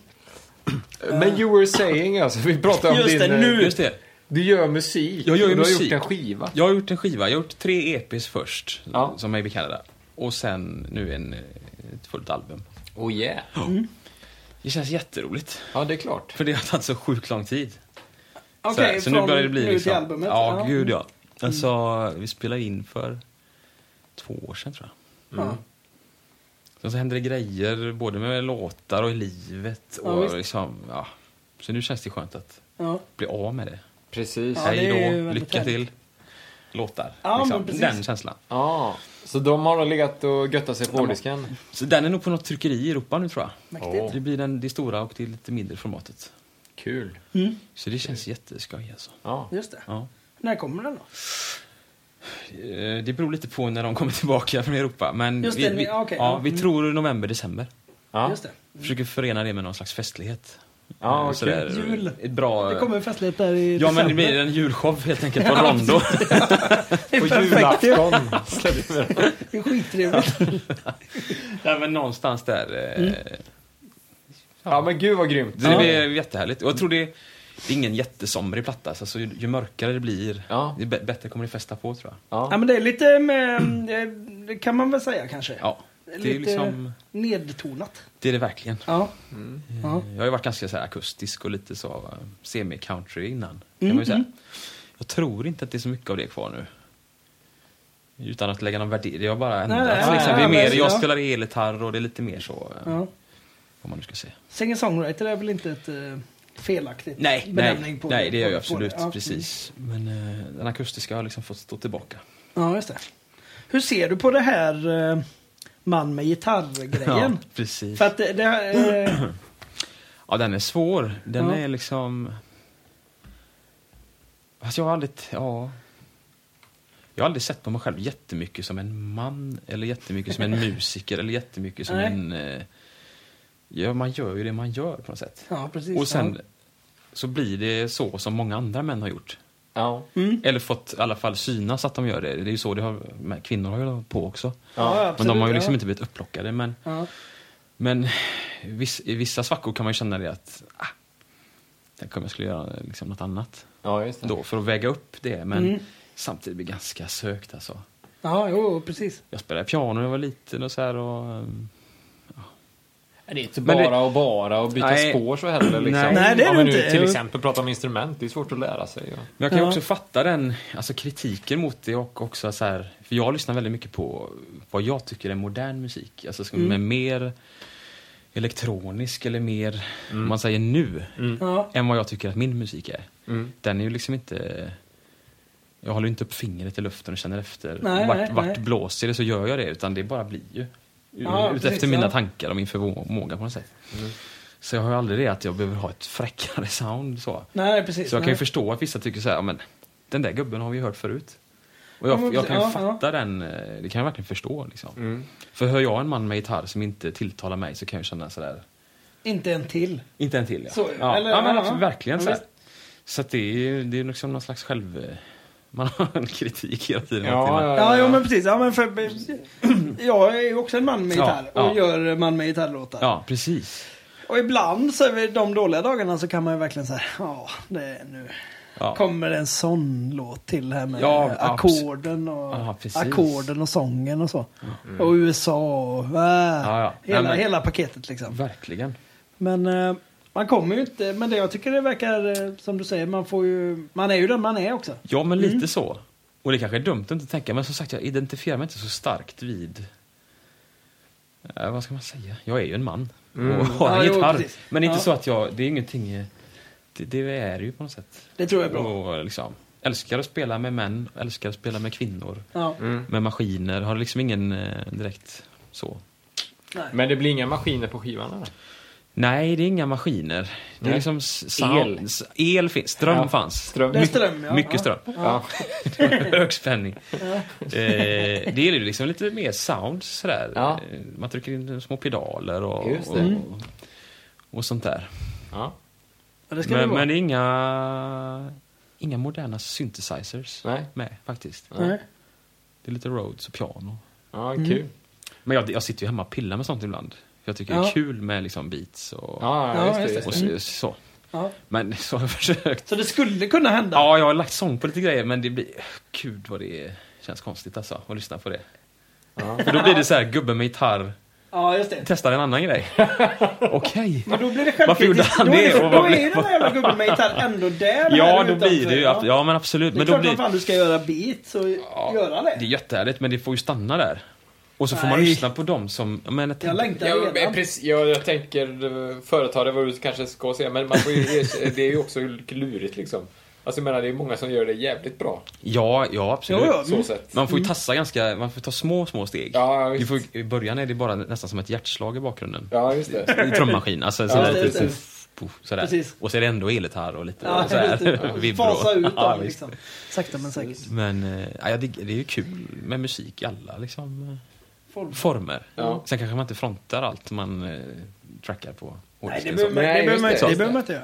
Speaker 6: Men you were saying alltså, vi pratade om
Speaker 2: Just
Speaker 6: din...
Speaker 2: det,
Speaker 6: eh,
Speaker 2: nu-
Speaker 5: Just det.
Speaker 6: Du gör musik.
Speaker 5: Jag gör ju
Speaker 6: du har
Speaker 5: musik.
Speaker 6: gjort en skiva.
Speaker 5: Jag har gjort en skiva. Jag har gjort tre EPs först,
Speaker 6: Ja.
Speaker 5: som Maybe Canada. Och sen nu en, eh, ett fullt album.
Speaker 6: Oh yeah.
Speaker 5: Det känns jätteroligt.
Speaker 6: Ja, det är klart.
Speaker 5: För det har tagit så sjukt lång tid. Så här,
Speaker 2: Okej,
Speaker 5: så
Speaker 2: från
Speaker 5: nu börjar det bli
Speaker 2: nu
Speaker 5: liksom...
Speaker 2: till albumet. Mm.
Speaker 5: Ja, gud ja. Alltså, vi spelade in för två år sedan tror jag.
Speaker 2: Ja.
Speaker 5: Sen så hände det grejer, både med låtar och i livet.
Speaker 2: Ja,
Speaker 5: Och
Speaker 2: visst.
Speaker 5: liksom, ja. Så nu känns det skönt att
Speaker 2: Ja.
Speaker 5: bli av med det.
Speaker 6: Precis.
Speaker 2: Ja.
Speaker 6: Ja.
Speaker 2: det är
Speaker 5: Hej
Speaker 2: ju
Speaker 5: då,
Speaker 2: väldigt
Speaker 5: lycka
Speaker 2: härligt.
Speaker 5: till. Låtar.
Speaker 2: Ja, men
Speaker 5: liksom.
Speaker 2: precis.
Speaker 5: Den känslan.
Speaker 6: Så de har legat och göttat sig på hårddisken?
Speaker 5: Så den är nog på något tryckeri i Europa nu tror jag.
Speaker 2: Mäktigt.
Speaker 5: Det blir den, det stora och det lite mindre formatet.
Speaker 6: Kul.
Speaker 5: Så det känns jätteskoj alltså.
Speaker 6: Ja.
Speaker 2: Just det.
Speaker 5: Ja.
Speaker 2: När kommer den då?
Speaker 5: Eh, Det beror lite på när de kommer tillbaka från Europa. Men
Speaker 2: Just
Speaker 5: vi,
Speaker 2: det,
Speaker 5: vi,
Speaker 2: ja, okej,
Speaker 5: ja,
Speaker 2: ja. Mm.
Speaker 5: vi tror november, december.
Speaker 6: Ja.
Speaker 2: Just det.
Speaker 5: Försöker förena det med någon slags festlighet.
Speaker 6: Ja,
Speaker 5: Eh,
Speaker 6: okej.
Speaker 2: Jul.
Speaker 5: Ett bra...
Speaker 2: Det kommer en festlighet där i
Speaker 5: Ja men det
Speaker 2: december.
Speaker 5: blir en julshow helt enkelt på Rondo.
Speaker 6: På julafton släpper vi den.
Speaker 2: Det är skittrevligt.
Speaker 5: Nej men någonstans där.
Speaker 2: Mm.
Speaker 5: eh,
Speaker 6: Ja, men gud vad grymt.
Speaker 5: Det blir jättehärligt. Och jag tror det är, det är ingen jättesomrig platta. Så alltså, ju, ju mörkare det blir,
Speaker 6: Ja.
Speaker 5: ju bä- bättre kommer det fästa på tror jag.
Speaker 2: Ja, men det är lite med, det kan man väl säga kanske.
Speaker 5: Ja, det är ju liksom... Mm.
Speaker 2: nedtonat.
Speaker 5: Det är det verkligen.
Speaker 2: Ja. Ja.
Speaker 5: Jag har ju varit ganska så här akustisk och lite så eh, semi-country innan. Kan
Speaker 2: Mm,
Speaker 5: man ju säga. Jag tror inte att det är så mycket av det kvar nu. Utan att lägga någon värdering. Jag har bara ändrat.
Speaker 2: nej, nej,
Speaker 5: liksom.
Speaker 2: nej,
Speaker 5: det
Speaker 2: nej,
Speaker 5: är mer,
Speaker 2: men-
Speaker 5: jag
Speaker 2: ja.
Speaker 5: spelar elgitarr och det är lite mer så. eh,
Speaker 2: ja.
Speaker 5: Vad man nu ska säga.
Speaker 2: Singer-songwriter är väl inte ett eh, felaktigt
Speaker 5: Nej,
Speaker 2: benämning
Speaker 5: nej,
Speaker 2: på
Speaker 5: nej, det gör jag
Speaker 2: på- på det.
Speaker 5: absolut.
Speaker 2: Ja.
Speaker 5: Precis. Men eh, den akustiska har liksom fått stå tillbaka.
Speaker 2: Ja, just det. Hur ser du på det här eh, man med gitarr-grejen?
Speaker 5: Ja, precis.
Speaker 2: För att det, det eh,
Speaker 5: Ja, den är svår. Den
Speaker 2: Ja.
Speaker 5: är liksom... Alltså jag har aldrig... t- Ja. Jag har aldrig sett på mig själv jättemycket som en man eller jättemycket som en musiker eller jättemycket som
Speaker 2: Nej.
Speaker 5: en... eh, Ja, man gör ju det man gör på något sätt.
Speaker 2: ja, precis.
Speaker 5: Och sen så blir det så som många andra män har gjort.
Speaker 6: Ja.
Speaker 2: Mm.
Speaker 5: Eller fått i alla fall synas att de gör det. Det är ju så det har, men kvinnor har ju hållit på också.
Speaker 2: ja, ja,
Speaker 5: men de har
Speaker 2: absolut,
Speaker 5: ju liksom
Speaker 2: ja.
Speaker 5: inte blivit upplockade. Men
Speaker 2: Ja.
Speaker 5: men viss, i vissa svackor kan man ju känna det att ah, tänk om jag skulle göra liksom något annat
Speaker 6: Ja, just det.
Speaker 5: då för att väga upp det. Men
Speaker 2: Mm.
Speaker 5: samtidigt blir det ganska sökt alltså.
Speaker 2: ja, jo, precis.
Speaker 5: Jag spelade piano när jag var liten och så här och... ehm,
Speaker 6: Det är inte
Speaker 5: Men det-
Speaker 6: bara och bara och byta
Speaker 5: Nej.
Speaker 6: spår så heller. Liksom.
Speaker 5: Nej.
Speaker 2: Nej, det är
Speaker 6: Om
Speaker 2: det
Speaker 6: vi nu
Speaker 2: inte.
Speaker 6: till exempel pratar om instrument, det är svårt att lära sig. Ja.
Speaker 5: Men jag kan ju
Speaker 2: Ja.
Speaker 5: också fatta den, alltså kritiken mot det och också så här, för jag lyssnar väldigt mycket på vad jag tycker är modern musik. Alltså
Speaker 2: Mm.
Speaker 5: ska med mer elektronisk eller mer, om man säger nu,
Speaker 2: Ja.
Speaker 5: än vad jag tycker att min musik är. Den är ju liksom inte... Jag håller ju inte upp fingret i luften och känner efter.
Speaker 2: Nej,
Speaker 5: vart
Speaker 2: nej,
Speaker 5: vart
Speaker 2: nej.
Speaker 5: blåser det så gör jag det, utan det bara blir ju.
Speaker 2: Ja,
Speaker 5: Ut
Speaker 2: precis,
Speaker 5: efter mina
Speaker 2: ja.
Speaker 5: tankar och min förmåga på något sätt. Så jag har ju aldrig det att jag behöver ha ett fräckare sound. Så,
Speaker 2: Nej, precis.
Speaker 5: så jag kan
Speaker 2: nej.
Speaker 5: ju förstå att vissa tycker så här, "Ja, men den där gubben har vi ju hört förut. Och jag,
Speaker 2: Ja, men
Speaker 5: jag kan ju
Speaker 2: precis, ja,
Speaker 5: fatta den, eh, det kan jag verkligen förstå. Liksom. För hör jag en man med gitarr som inte tilltalar mig så kan jag känna sådär,
Speaker 2: Inte en till.
Speaker 5: inte en till ja.
Speaker 2: Så,
Speaker 5: ja.
Speaker 2: eller-
Speaker 5: ja, men
Speaker 2: ja,
Speaker 5: absolut,
Speaker 2: ja.
Speaker 5: verkligen
Speaker 2: Ja,
Speaker 5: så här.
Speaker 2: visst.
Speaker 5: Så att det är ju det är liksom någon slags själv... eh, Man har en kritik hela tiden. hela tiden.
Speaker 2: Ja, jo, men precis. Ja, men för, jag är ju också en man med
Speaker 5: Ja,
Speaker 2: gitarr
Speaker 5: ja.
Speaker 2: och gör man med gitarrlåtar.
Speaker 5: ja precis.
Speaker 2: Och ibland så är vi de dåliga dagarna så kan man ju verkligen säga, ja, det är nu
Speaker 5: Ja.
Speaker 2: kommer en sån låt till här med
Speaker 5: Ja,
Speaker 2: eh, ackorden och,
Speaker 5: Ja, precis. Mm.
Speaker 2: ackorden och sången och så. Och USA och äh,
Speaker 5: ja.
Speaker 2: Hela,
Speaker 5: Nej, men-
Speaker 2: hela paketet liksom.
Speaker 5: Verkligen.
Speaker 2: Men eh, man kommer ju inte, men det jag tycker det verkar eh, som du säger, man får ju, man är ju den man är också.
Speaker 5: Ja, men lite så. Och det kanske är dumt att inte tänka, men som sagt, jag identifierar mig inte så starkt vid... Eh, vad ska man säga? Jag är ju en man. Och har
Speaker 2: Mm. Ja,
Speaker 5: en
Speaker 2: jo,
Speaker 5: gitarr.
Speaker 2: precis.
Speaker 5: men det är inte
Speaker 2: Ja.
Speaker 5: så att jag... Det är ingenting... eh, Det, det är det ju på något sätt.
Speaker 2: Det tror jag är bra.
Speaker 5: Och liksom, älskar att spela med män, älskar
Speaker 6: Mm.
Speaker 5: att spela med kvinnor.
Speaker 2: Ja.
Speaker 5: med maskiner. Har liksom ingen eh, direkt så.
Speaker 6: Men det blir inga maskiner på skivan eller?
Speaker 5: Nej, det är inga maskiner. Det är
Speaker 6: Nej.
Speaker 5: liksom sound.
Speaker 6: El.
Speaker 5: s- El finns. Ström
Speaker 6: Ja.
Speaker 5: fanns.
Speaker 6: Ström.
Speaker 2: Det är ström, ja.
Speaker 5: Mycket
Speaker 2: ja.
Speaker 5: ström.
Speaker 6: Ja.
Speaker 5: Hög spänning. eh, det är ju liksom lite mer sound sådär.
Speaker 6: Ja.
Speaker 5: Eh, Man trycker in små pedaler och,
Speaker 6: Just det.
Speaker 5: och, och sånt där.
Speaker 6: ja.
Speaker 2: Ja, det ska det
Speaker 5: Men,
Speaker 2: vara.
Speaker 5: men det är inga, inga moderna synthesizers
Speaker 6: Nej.
Speaker 5: med faktiskt.
Speaker 2: Nej.
Speaker 5: Det är lite Rhodes och piano.
Speaker 6: Ja, kul.
Speaker 5: Mm. Men jag, jag sitter ju hemma och pillar med sånt ibland. Jag tycker det
Speaker 2: Ja.
Speaker 5: är kul med liksom beats och,
Speaker 6: Ja, ja,
Speaker 2: Ja,
Speaker 6: just det.
Speaker 2: just
Speaker 6: Just
Speaker 5: och
Speaker 6: det.
Speaker 5: så, så.
Speaker 2: Ja.
Speaker 5: Men så har jag försökt.
Speaker 2: Så det skulle kunna hända.
Speaker 5: Ja, jag har lagt sång på lite grejer men det blir... Gud vad det är- känns konstigt alltså att lyssna på det. För då blir det så här, gubben med gitarr
Speaker 2: Ja, just det.
Speaker 5: testar en annan grej. Okej.
Speaker 2: Men då blir det
Speaker 5: Varför gjorde han
Speaker 2: Då är
Speaker 5: det? Och vad
Speaker 2: Då
Speaker 5: blev-
Speaker 2: är den där jävla gubben med gitarr ändå där.
Speaker 5: Ja,
Speaker 2: här
Speaker 5: då blir
Speaker 2: utanför.
Speaker 5: det ju...
Speaker 2: Ja.
Speaker 5: Ja, men absolut.
Speaker 2: Det är
Speaker 5: Men då
Speaker 2: klart
Speaker 5: blir...
Speaker 2: som fan du ska göra beat så göra det.
Speaker 5: Det är jättehärligt, men det får ju stanna där. Och så får man
Speaker 2: Nej.
Speaker 5: lyssna på dem som... Men jag
Speaker 2: Jag
Speaker 5: tänkte,
Speaker 2: längtar
Speaker 6: Jag,
Speaker 2: redan.
Speaker 6: precis, jag, jag tänker eh, företagare vad du kanske ska säga, men man får ju, det är ju också lurigt liksom. Alltså jag menar, det är många som gör det jävligt bra.
Speaker 5: ja, ja, absolut.
Speaker 2: Jo, jo.
Speaker 6: Så sett.
Speaker 5: Man får
Speaker 2: Mm.
Speaker 5: ju tassa ganska... Man får ta små, små steg.
Speaker 6: Ja,
Speaker 5: du
Speaker 6: visst.
Speaker 5: får, I början är det bara nä- nästan som ett hjärtslag i bakgrunden.
Speaker 6: Ja, just det.
Speaker 5: I trummaskin. Alltså,
Speaker 2: Ja,
Speaker 5: sådär,
Speaker 2: just
Speaker 5: lite,
Speaker 2: det.
Speaker 5: puff, puff, sådär.
Speaker 2: Precis.
Speaker 5: Och så är det ändå elgitarr och lite
Speaker 2: Ja, just det.
Speaker 5: sådär, vibro.
Speaker 2: Fasa ut
Speaker 5: Ja,
Speaker 2: dem
Speaker 5: visst.
Speaker 2: liksom. Sakta men säkert.
Speaker 5: Men eh, ja, det, det är ju kul med musik i alla liksom, eh,
Speaker 2: Folk-
Speaker 5: former.
Speaker 6: Ja.
Speaker 5: Sen kanske man inte frontar allt man eh, trackar på
Speaker 2: Nej, det
Speaker 5: hårddisken.
Speaker 2: behöver man-
Speaker 6: Nej,
Speaker 2: det behöver man
Speaker 6: just
Speaker 2: inte-
Speaker 6: det.
Speaker 2: det behöver man inte göra.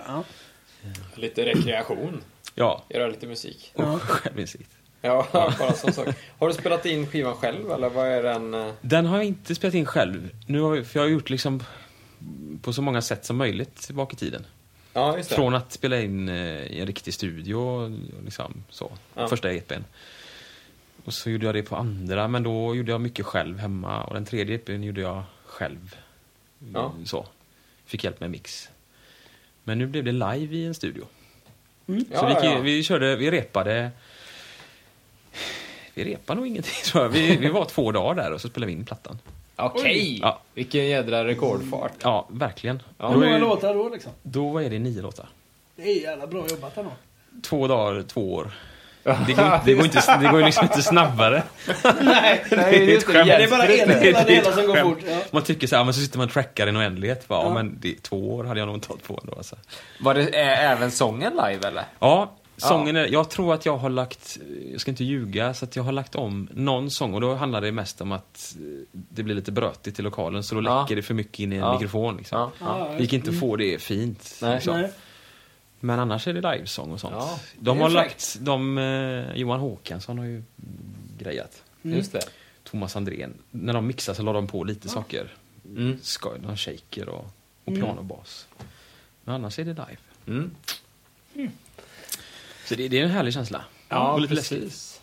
Speaker 2: Ja.
Speaker 6: Lite rekreation.
Speaker 5: Ja,
Speaker 6: Göra lite musik.
Speaker 5: och självinsikt.
Speaker 6: Ja, bara sån sak. Har du spelat in skivan själv eller vad är den? eh?
Speaker 5: Den har jag inte spelat in själv. Nu har jag, för jag har gjort liksom på så många sätt som möjligt tillbaka i tiden.
Speaker 6: Ja, just det.
Speaker 5: Från att spela in eh, i en riktig studio, och liksom så.
Speaker 6: Ja.
Speaker 5: Första EPn. Och så gjorde jag det på andra, men då gjorde jag mycket själv hemma. Och den tredje EPn gjorde jag själv.
Speaker 6: Ja.
Speaker 5: Så. Fick hjälp med mix. Men nu blev det live i en studio. Så
Speaker 6: Ja,
Speaker 5: vi,
Speaker 6: Mm. ja,
Speaker 5: gick-
Speaker 6: ja.
Speaker 5: vi körde, vi repade. Vi repade nog ingenting tror jag. Vi, vi var två dagar där och så spelade vi in plattan.
Speaker 6: Okej!
Speaker 5: Ja.
Speaker 6: Vilken jädra rekordfart.
Speaker 5: Ja, verkligen.
Speaker 6: Ja.
Speaker 5: Då
Speaker 2: Hur många
Speaker 5: är-
Speaker 2: låtar då liksom?
Speaker 5: Då är det nio låtar.
Speaker 2: Det är jävla bra jobbat ändå.
Speaker 5: Två dagar, två år. Det går, inte- det går, inte, det går ju liksom inte snabbare.
Speaker 2: Nej,
Speaker 5: det är ett skämt.
Speaker 2: Det är bara en
Speaker 5: Det är
Speaker 2: hela
Speaker 5: ett
Speaker 2: delar som går
Speaker 5: skämt.
Speaker 2: fort. Ja.
Speaker 5: Man tycker så här, men så sitter man och trackar i en oändlighet. Bara, ja. men det, två år hade jag nog inte hållit på ändå. Alltså.
Speaker 1: Var det eh, även sången live eller?
Speaker 5: Ja, sången är, jag tror att jag har lagt, jag ska inte ljuga, så att jag har lagt om någon sång och då handlar det mest om att eh, det blir lite brötigt i lokalen så då
Speaker 1: Ja.
Speaker 5: läcker det för mycket in i en
Speaker 1: Ja.
Speaker 5: mikrofon. Liksom.
Speaker 1: Ja.
Speaker 2: Ja,
Speaker 5: Vi gick inte att få det fint.
Speaker 1: Nej.
Speaker 5: Liksom.
Speaker 2: Nej.
Speaker 5: Men annars är det livesång och sånt.
Speaker 1: Ja,
Speaker 5: De
Speaker 2: det är
Speaker 5: har
Speaker 2: fräckt.
Speaker 5: lagt, de, eh, Johan Håkansson har ju mm, grejat.
Speaker 2: Mm.
Speaker 1: Just det.
Speaker 5: Thomas Andrén. När de mixar så la de på lite saker. Skoj, någon shaker och, och pianobas. Men annars är det live.
Speaker 1: Mm.
Speaker 5: Så det, det är en härlig känsla.
Speaker 1: Ja,
Speaker 5: Och lite läskigt.
Speaker 1: precis.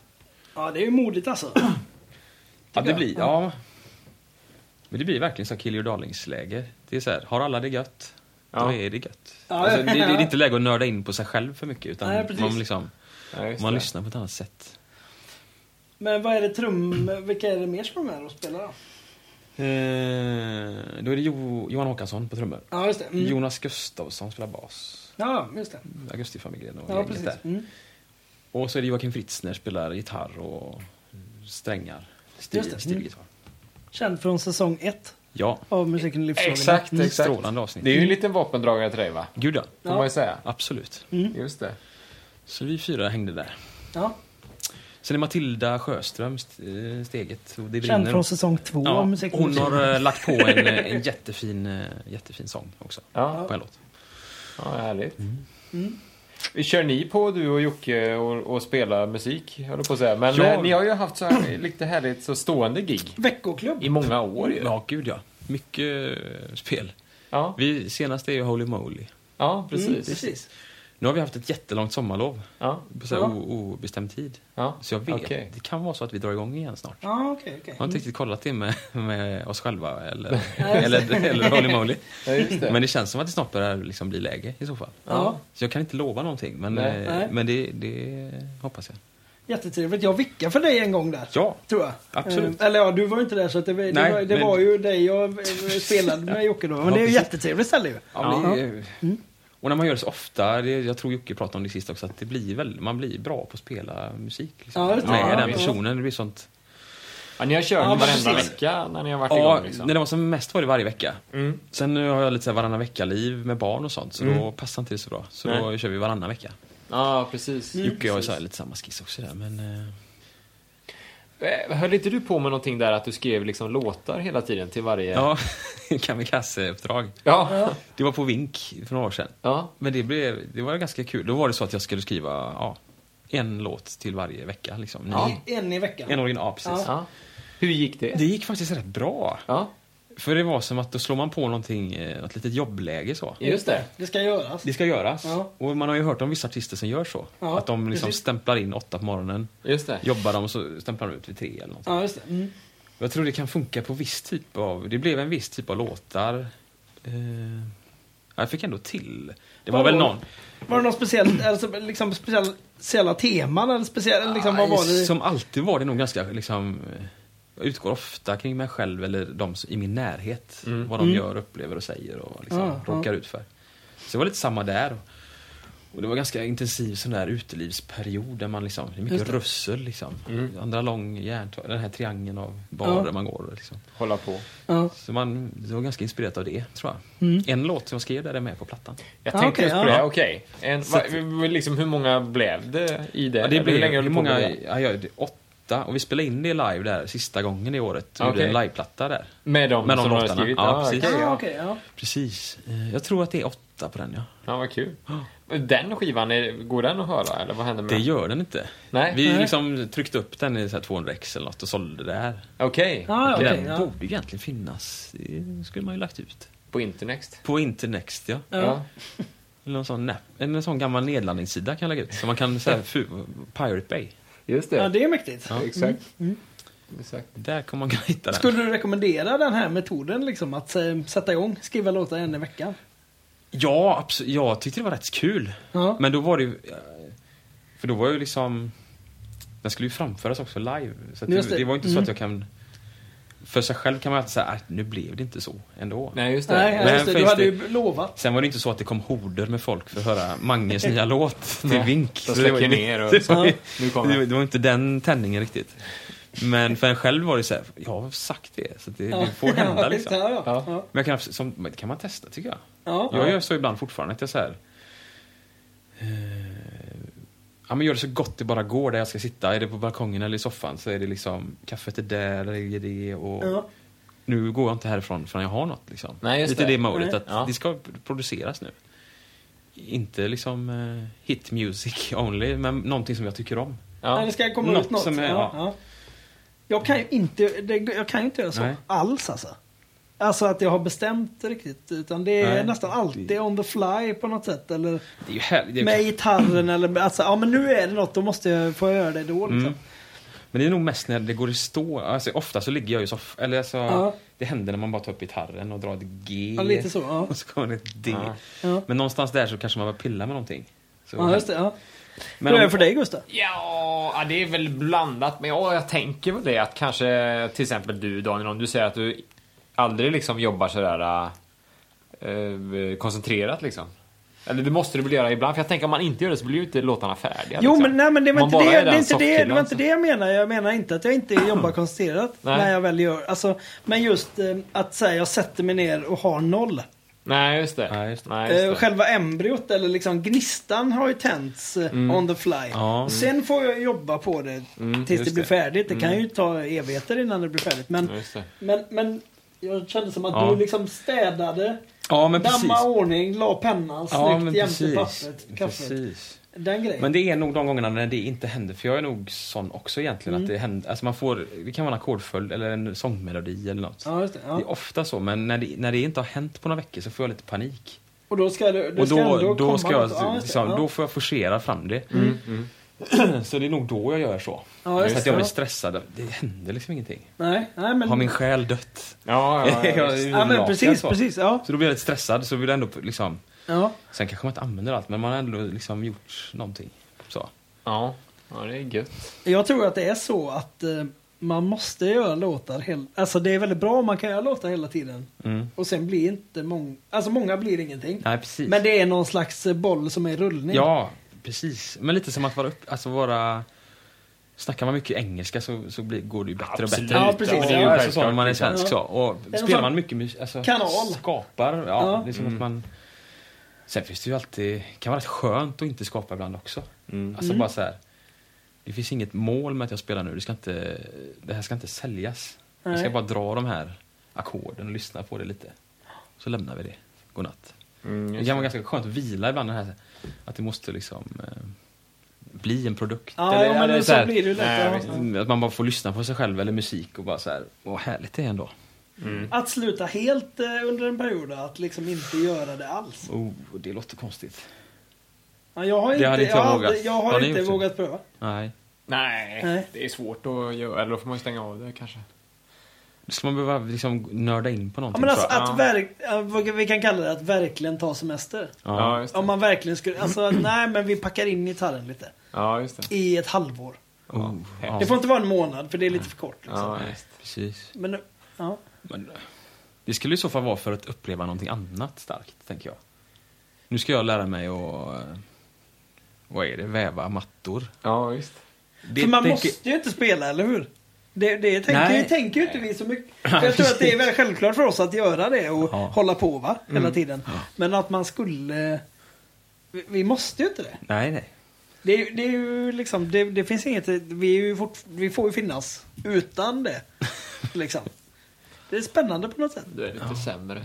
Speaker 2: Ja, det är ju modigt alltså.
Speaker 5: Ja, det blir, ja. Men det blir verkligen som Kill Your Darlings-läge. Det är så här, har alla det gött, då
Speaker 1: Ja.
Speaker 5: är det gött.
Speaker 2: Ja,
Speaker 5: Alltså, det, det är
Speaker 2: ja.
Speaker 5: inte läge att nörda in på sig själv för mycket, utan
Speaker 2: Nej, precis.
Speaker 5: man, liksom,
Speaker 6: Ja, just
Speaker 5: man
Speaker 6: det.
Speaker 5: lyssnar på ett annat sätt.
Speaker 2: Men vad är det trum... Vilka är det mer som är med och spelar då?
Speaker 5: Eh, då är det jo, Johan Håkansson på trummor.
Speaker 2: Ja, just det. Mm.
Speaker 5: Jonas Gustafsson spelar bas.
Speaker 2: Ja, just det.
Speaker 5: Augustifamiljen och
Speaker 2: Ja,
Speaker 5: gänget
Speaker 2: precis.
Speaker 5: där.
Speaker 2: Mm.
Speaker 5: Och så är det Joakim Fritzner spelar gitarr och strängar.
Speaker 2: Just
Speaker 5: Stil,
Speaker 2: det. Mm.
Speaker 5: stilgitarr.
Speaker 2: Känd från säsong ett
Speaker 5: Ja,
Speaker 2: av Musiken Mm. i livsfrågan.
Speaker 6: Exakt, exakt.
Speaker 5: strålande avsnitt.
Speaker 6: Det är ju en liten vapendragare till dig va?
Speaker 5: Gud ja,
Speaker 6: Får
Speaker 2: Ja. Mm.
Speaker 6: man ju säga.
Speaker 5: absolut.
Speaker 6: Just det.
Speaker 5: Så vi fyra hängde där.
Speaker 2: Ja.
Speaker 5: Sen är Matilda Sjöström st- eh, steget. Och det
Speaker 2: Känd
Speaker 5: brinner.
Speaker 2: från säsong två
Speaker 5: ja,
Speaker 2: av Musiken i
Speaker 5: Hon
Speaker 2: livsfrågan.
Speaker 5: har eh, lagt på en, eh, en jättefin, eh, jättefin sång också.
Speaker 6: Ja,
Speaker 5: På en låt.
Speaker 6: ja härligt.
Speaker 5: Mm.
Speaker 2: Mm.
Speaker 6: Mm. Kör ni på du och Jocke och, och spelar musik? Höll jag på att säga. Men
Speaker 5: Ja.
Speaker 6: eh, ni har ju haft så här lite härligt så stående gig
Speaker 5: Mm,
Speaker 2: Veckoklubb. Mm,
Speaker 6: i många år ju.
Speaker 5: Ja, gud ja. Mycket eh, spel.
Speaker 6: Ja,
Speaker 5: Vi senaste är ju Holy Moly.
Speaker 6: ja precis.
Speaker 2: Mm, precis.
Speaker 5: Nu har vi haft ett jättelångt sommarlov.
Speaker 6: Ja,
Speaker 5: På så här
Speaker 2: Ja.
Speaker 5: o- obestämd tid.
Speaker 6: ja.
Speaker 5: Så jag vet,
Speaker 6: Okej.
Speaker 5: det kan vara så att vi drar igång igen snart.
Speaker 2: Ja, okej, okej.
Speaker 5: Jag har inte riktigt kollat det med, med oss själva eller,
Speaker 2: Nej,
Speaker 5: eller, eller Holy Moly.
Speaker 6: Ja, just det.
Speaker 5: Men det känns som att det snart börjar liksom bli läge i så fall.
Speaker 2: Ja.
Speaker 5: Så jag kan inte lova någonting, men,
Speaker 6: Nej.
Speaker 5: eh,
Speaker 2: Nej.
Speaker 5: men det, det hoppas jag.
Speaker 2: Jättetrevligt. Jag vickade för dig en gång där.
Speaker 5: Ja,
Speaker 2: Tror jag.
Speaker 5: Absolut.
Speaker 2: Eh, eller ja, du var ju inte där så att det, var- det,
Speaker 5: Nej,
Speaker 2: var, det
Speaker 5: men-
Speaker 2: var ju dig jag eh, spelade med Jocke då. Men
Speaker 5: Ja,
Speaker 2: det är ju
Speaker 5: precis.
Speaker 2: jättetrevligt ställe ju.
Speaker 5: Ja, men det är ju- Och när man gör det så ofta, det, jag tror Jocke pratade om det sist också, att det blir väl, man blir bra på att spela musik. Liksom.
Speaker 2: Ja, just det.
Speaker 5: Med
Speaker 2: Ja,
Speaker 5: den
Speaker 2: visst.
Speaker 5: personen, det blir sånt
Speaker 1: Ja, ni har kört
Speaker 2: Ja,
Speaker 1: varenda
Speaker 2: precis.
Speaker 1: vecka när ni har varit
Speaker 5: Ja,
Speaker 1: igång?
Speaker 5: när
Speaker 1: Liksom.
Speaker 5: det var som mest var det varje vecka.
Speaker 6: Mm.
Speaker 5: Sen nu har jag lite så här varannan vecka-liv med barn och sånt, så då passar inte det så bra. Så då
Speaker 1: Mm. Nej.
Speaker 5: kör vi varannan vecka.
Speaker 1: Ja, precis.
Speaker 5: Mm. Jocke och jag har ju så här lite samma skiss också där, men... eh,
Speaker 1: Eh, Höll inte du på med någonting där att du skrev liksom låtar hela tiden till varje...
Speaker 5: Ja, kamikaze-uppdrag.
Speaker 1: Ja.
Speaker 5: Det var på Vink för några år sedan.
Speaker 1: ja.
Speaker 5: Men det, blev, det var ganska kul. Då var det så att jag skulle skriva ja, en låt till varje vecka. Liksom. Ny.
Speaker 2: En i veckan.
Speaker 5: En original, ja, precis.
Speaker 1: Ja. Hur gick det?
Speaker 5: Det gick faktiskt rätt bra.
Speaker 1: Ja,
Speaker 5: För det var som att då slår man på någonting, eh, något litet jobbläge så.
Speaker 1: just det.
Speaker 2: Det ska göras.
Speaker 5: Det ska göras.
Speaker 2: Ja.
Speaker 5: Och man har ju hört om vissa artister som gör så.
Speaker 2: Ja,
Speaker 5: att de liksom
Speaker 2: precis.
Speaker 5: stämplar in åtta på morgonen,
Speaker 1: Just det.
Speaker 5: jobbar de och så stämplar de ut vid tre eller någonting.
Speaker 2: Ja, just det. Mm.
Speaker 5: Jag tror det kan funka på viss typ av... Det blev en viss typ av låtar. Eh, jag fick ändå till. Det var
Speaker 2: Vad
Speaker 5: väl
Speaker 2: var det?
Speaker 5: någon...
Speaker 2: Var det någon speciell, alltså, liksom, speciell, speciella teman eller speciell, liksom, vad var det?
Speaker 5: Som alltid var det nog ganska liksom... eh, Jag utgår ofta kring mig själv eller de som- i min närhet. Vad de gör, upplever och säger och liksom
Speaker 2: Mm. Ja, ja.
Speaker 5: råkar ut för. Så det var lite samma där. Och det var ganska intensiv sån där utelivsperiod där man liksom, det är mycket russel liksom. Andra lång järntag, den här triangeln av barer
Speaker 2: Ja.
Speaker 5: man går och liksom.
Speaker 1: Hålla på.
Speaker 2: Ja.
Speaker 5: Så man det var ganska inspirerat av det, tror jag.
Speaker 2: Mm.
Speaker 5: En låt som jag skrev där är med på plattan.
Speaker 1: Jag
Speaker 2: Ja,
Speaker 1: tänkte
Speaker 2: okej,
Speaker 1: just på
Speaker 2: ja.
Speaker 1: det. Okej. En-
Speaker 5: Ah, Så
Speaker 1: va-
Speaker 5: att-
Speaker 1: v- Liksom, hur många blev det i det?
Speaker 5: Ja,
Speaker 1: Eller
Speaker 5: det blev,
Speaker 1: hur länge höll
Speaker 5: hur
Speaker 1: du på
Speaker 5: många,
Speaker 1: med det?
Speaker 5: ja, jag, det, åtta. Och vi spelade in det live där sista gången i året.
Speaker 1: Okej.
Speaker 5: Och
Speaker 1: Mm.
Speaker 5: Gjorde en liveplatta där.
Speaker 1: Med de,
Speaker 5: Med de
Speaker 1: som de har
Speaker 5: låtarna.
Speaker 1: skrivit?
Speaker 5: Ja, precis.
Speaker 1: okej,
Speaker 2: Ah,
Speaker 1: ja.
Speaker 2: okej, ja.
Speaker 5: Precis. Eh, Jag tror att det är åtta på den ja.
Speaker 1: ja, vad kul. Den skivan, är, går den att höra eller vad händer med
Speaker 5: Det
Speaker 1: den?
Speaker 5: gör den inte.
Speaker 1: Nej.
Speaker 5: Vi
Speaker 2: Nej.
Speaker 5: liksom tryckte upp den i så här 200 x eller något och sålde det här.
Speaker 1: Okej,
Speaker 2: Ah, ja, okej,
Speaker 5: den
Speaker 2: ja.
Speaker 5: borde ju egentligen finnas. Det skulle man ju lagt ut.
Speaker 1: på Internext.
Speaker 5: På Internext ja.
Speaker 1: Ja.
Speaker 5: Eller någon sån, nap- en sån gammal nedladdningssida kan jag lägga ut. Så man kan säga Pirate Bay.
Speaker 1: just det.
Speaker 2: ja, det är mäktigt.
Speaker 1: Exakt.
Speaker 5: Mm,
Speaker 1: Exakt.
Speaker 5: Där kommer man kunna hitta den.
Speaker 2: Skulle du rekommendera den här metoden, liksom, att eh, sätta igång, skriva låtar en i veckan?
Speaker 5: Ja, absolut. Jag tyckte det var rätt kul.
Speaker 2: Ja.
Speaker 5: Men då var det ju... eh, För då var ju liksom... Den skulle ju framföras också live. Så att det,
Speaker 2: Just det. Mm.
Speaker 5: det var ju inte så att jag kan... För sig själv kan man alltid säga att nu blev det inte så ändå.
Speaker 1: Nej, just det.
Speaker 2: Nej,
Speaker 5: Men
Speaker 2: ja, just det. Du
Speaker 5: finns
Speaker 2: hade
Speaker 5: det-
Speaker 2: ju lovat.
Speaker 5: Sen var det inte så att det kom horder med folk för att höra Manges nya låt till
Speaker 1: Nej,
Speaker 5: Vink.
Speaker 1: de
Speaker 5: Så det var ju-
Speaker 1: släcker ner och-
Speaker 5: det, var, ju-
Speaker 1: Nu kommer
Speaker 5: det,
Speaker 1: den.
Speaker 5: var, det var inte den tändningen riktigt. Men för en själv var det så här, jag har sagt det, så att det, det får hända
Speaker 2: Ja,
Speaker 5: liksom.
Speaker 2: Ja, ja.
Speaker 1: Ja.
Speaker 2: Ja.
Speaker 5: Men jag kan, abs- som, men det kan man testa tycker jag.
Speaker 2: Ja.
Speaker 5: Jag gör så ibland fortfarande att jag så här. eh, ja, men gör det så gott det bara går där jag ska sitta. Är det på balkongen eller i soffan så är det liksom kaffet är där, där är det och
Speaker 2: Ja.
Speaker 5: nu går jag inte härifrån förrän jag har något. Liksom.
Speaker 1: Nej, just
Speaker 5: Lite
Speaker 1: det.
Speaker 5: det målet
Speaker 2: Nej.
Speaker 5: att
Speaker 1: Ja.
Speaker 5: det ska produceras nu. Inte liksom eh, hit music only, men någonting som jag tycker om.
Speaker 1: Ja.
Speaker 2: Nej, det ska komma ut
Speaker 5: Något
Speaker 2: något.
Speaker 5: som är-
Speaker 2: ja,
Speaker 5: ja.
Speaker 2: ja. Jag kan ju inte, det, jag kan ju inte göra så
Speaker 5: Nej.
Speaker 2: alls alltså. Alltså att jag har bestämt riktigt. Utan det är
Speaker 5: Nej.
Speaker 2: nästan alltid on the fly på något sätt. Eller
Speaker 5: Det är ju härligt. Det är-
Speaker 2: med gitarren eller alltså, ja men nu är det något, då måste jag få göra det då
Speaker 5: Mm.
Speaker 2: liksom.
Speaker 5: Men det är nog mest när det går i stå. Alltså, ofta så ligger jag i soffan. Eller alltså,
Speaker 2: Ja.
Speaker 5: Det händer när man bara tar upp gitarren och drar ett G.
Speaker 2: Ja, lite så, ja.
Speaker 5: Och så kommer det ett D.
Speaker 1: Ja.
Speaker 2: Ja.
Speaker 5: Men någonstans där så kanske man bara pillar med någonting. Så,
Speaker 2: Ja, just det. Ja.
Speaker 5: Men
Speaker 2: Hur är det
Speaker 5: om,
Speaker 2: för dig Gustav?
Speaker 1: Ja, ja, det är väl blandat. Men ja, jag tänker väl det att kanske till exempel du Daniel, om du säger att du aldrig liksom jobbar sådär eh, koncentrerat liksom. Eller det måste du väl göra ibland? För jag tänker om man inte gör det så blir ju inte låtarna färdiga.
Speaker 2: Jo
Speaker 1: liksom.
Speaker 2: men nej men det var
Speaker 1: Om
Speaker 2: inte
Speaker 1: man bara
Speaker 2: det,
Speaker 1: är
Speaker 2: det,
Speaker 1: den
Speaker 2: är inte det, det
Speaker 1: softkillen,
Speaker 2: var inte det jag menar. Jag menar inte att jag inte jobbar koncentrerat
Speaker 1: Nej.
Speaker 2: när jag väl gör. Alltså, men just eh, att säga jag sätter mig ner och har noll.
Speaker 1: Nej, just det.
Speaker 5: Nej, just det.
Speaker 1: Nej,
Speaker 2: Eh,
Speaker 1: just det.
Speaker 2: själva embryot eller liksom gnistan har ju tänts eh, on the fly.
Speaker 5: Mm. Ja. Mm,
Speaker 2: Och Sen får jag jobba på det tills det blir
Speaker 5: just det. Mm.
Speaker 2: färdigt. Det kan ju ta evigheter innan det blir färdigt. Men,
Speaker 1: Ja, just det.
Speaker 2: men, men jag kände som att
Speaker 5: Ja.
Speaker 2: du liksom städade,
Speaker 5: ja, men precis.
Speaker 2: damma ordning, la pennan
Speaker 5: Ja, men
Speaker 2: snyggt jämte
Speaker 5: precis.
Speaker 2: pappret, kaffet.
Speaker 5: precis.
Speaker 2: Den grejen.
Speaker 5: Men det är nog de gångerna när det inte händer. För jag är nog sån också egentligen.
Speaker 2: Mm.
Speaker 5: Att det, händer, alltså man får, det kan vara en ackordföljd eller en sångmelodi eller något.
Speaker 2: Ja, just det.
Speaker 5: Det
Speaker 2: Ja.
Speaker 5: är ofta så, men när det, när det inte har hänt på några veckor så får jag lite panik.
Speaker 2: Och då ska du, du
Speaker 5: Och
Speaker 2: ska
Speaker 5: då,
Speaker 2: ändå
Speaker 5: då,
Speaker 2: komma
Speaker 5: ska jag,
Speaker 2: något- ja, just det.
Speaker 5: liksom,
Speaker 2: Ja. Mm,
Speaker 5: då får jag forcera fram det. Så det är nog då jag gör så.
Speaker 2: Ja, just
Speaker 5: så att
Speaker 2: det. Mm.
Speaker 5: jag blir stressad. Det händer liksom ingenting.
Speaker 2: Nej, nej men...
Speaker 5: Har min själ dött?
Speaker 1: Ja, ja, ja,
Speaker 5: Jag
Speaker 1: visst.
Speaker 5: är
Speaker 2: ja, men
Speaker 5: urlakad
Speaker 2: precis,
Speaker 5: så.
Speaker 2: precis. Ja.
Speaker 5: Så då blir jag lite stressad. Så vill jag ändå liksom...
Speaker 2: ja.
Speaker 5: Sen kanske man inte använder allt, men man har ändå liksom gjort någonting. Så.
Speaker 1: ja. ja, det är gött.
Speaker 2: Jag tror att det är så att eh, man måste göra låtar hela... Alltså det är väldigt bra om man kan göra låtar hela tiden.
Speaker 5: Mm.
Speaker 2: Och sen blir inte många... Alltså många blir ingenting.
Speaker 5: Nej, precis.
Speaker 2: Men det är någon slags eh, boll som är i rullning.
Speaker 5: Ja, precis. Men lite som att vara upp, alltså vara Snackar man mycket engelska så, så blir, går det ju bättre
Speaker 1: Absolut.
Speaker 5: och bättre.
Speaker 2: Ja, precis.
Speaker 5: Men Det är ju
Speaker 2: Ja, alltså
Speaker 5: självklart så
Speaker 1: självklart.
Speaker 5: när man är svensk så. Och
Speaker 2: någon
Speaker 5: spelar
Speaker 2: sån
Speaker 5: man mycket musik, alltså,
Speaker 2: kanal.
Speaker 5: skapar, ja,
Speaker 2: Ja.
Speaker 5: Det är som att man... Sen finns det ju alltid, kan vara rätt skönt att inte skapa ibland också. Alltså
Speaker 2: Mm.
Speaker 5: bara så här. Det finns inget mål med att jag spelar nu, det, ska inte, det här ska inte säljas. Jag ska
Speaker 2: Nej.
Speaker 5: bara dra de här ackorden och lyssna på det lite. Så lämnar vi det. Godnatt. Mm, Det kan vara ganska skönt att vila ibland, det här, att det måste liksom eh, bli en produkt.
Speaker 2: Ja,
Speaker 5: eller-
Speaker 2: ja, men
Speaker 5: eller
Speaker 2: så
Speaker 5: här-
Speaker 2: blir det ju lätt.
Speaker 1: Nej,
Speaker 2: ja.
Speaker 1: visst.
Speaker 5: att man bara får lyssna på sig själv eller musik och bara så här, vad härligt det är ändå.
Speaker 1: Mm.
Speaker 2: Att sluta helt eh, under en period, att liksom inte göra det alls.
Speaker 5: Oh, det låter konstigt.
Speaker 2: Ja, jag har
Speaker 5: Det
Speaker 2: inte,
Speaker 5: hade inte
Speaker 2: jag
Speaker 5: jag
Speaker 2: har
Speaker 5: vågat.
Speaker 2: aldrig- jag har
Speaker 5: Har ni
Speaker 2: inte
Speaker 5: gjort det?
Speaker 2: vågat pröva.
Speaker 5: Nej.
Speaker 1: Nej,
Speaker 2: Nej.
Speaker 1: det är svårt att göra. Eller då får man ju stänga av det kanske.
Speaker 5: Då ska man behöva liksom nörda in på
Speaker 2: Ja,
Speaker 5: någonting
Speaker 2: men alltså,
Speaker 5: tror jag.
Speaker 2: att
Speaker 1: Ja.
Speaker 2: verk, ja, vad vi kan kalla det att verkligen ta semester.
Speaker 1: Ja, just det.
Speaker 2: Om man verkligen skulle, alltså nej men vi packar in gitarren lite.
Speaker 1: Ja, just det.
Speaker 2: I ett halvår.
Speaker 5: Oh, ja.
Speaker 2: Det får inte vara en månad för det är lite för kort. Liksom.
Speaker 1: Ja,
Speaker 5: Nej, precis.
Speaker 2: Men, ja.
Speaker 5: Men, eh, det skulle i så fall vara för att uppleva någonting annat starkt, tänker jag. Nu ska jag lära mig att, eh, vad är det, väva mattor.
Speaker 1: ja just
Speaker 5: Det
Speaker 2: för man
Speaker 5: tänker-
Speaker 2: måste ju inte spela, eller hur? Det, det tänker,
Speaker 5: Nej.
Speaker 2: ju- tänker ju inte vi så mycket. För jag tror att det är väl självklart för oss att göra det och
Speaker 5: Ja. Mm.
Speaker 2: hålla på va? hela tiden. Men att man skulle... Vi, vi måste ju inte det.
Speaker 5: Nej, nej.
Speaker 2: Det, är ju- det är ju liksom, det, det finns inget, vi, är ju fort, vi får ju finnas utan det. Liksom. Det är spännande på något sätt.
Speaker 1: Du är lite sämre.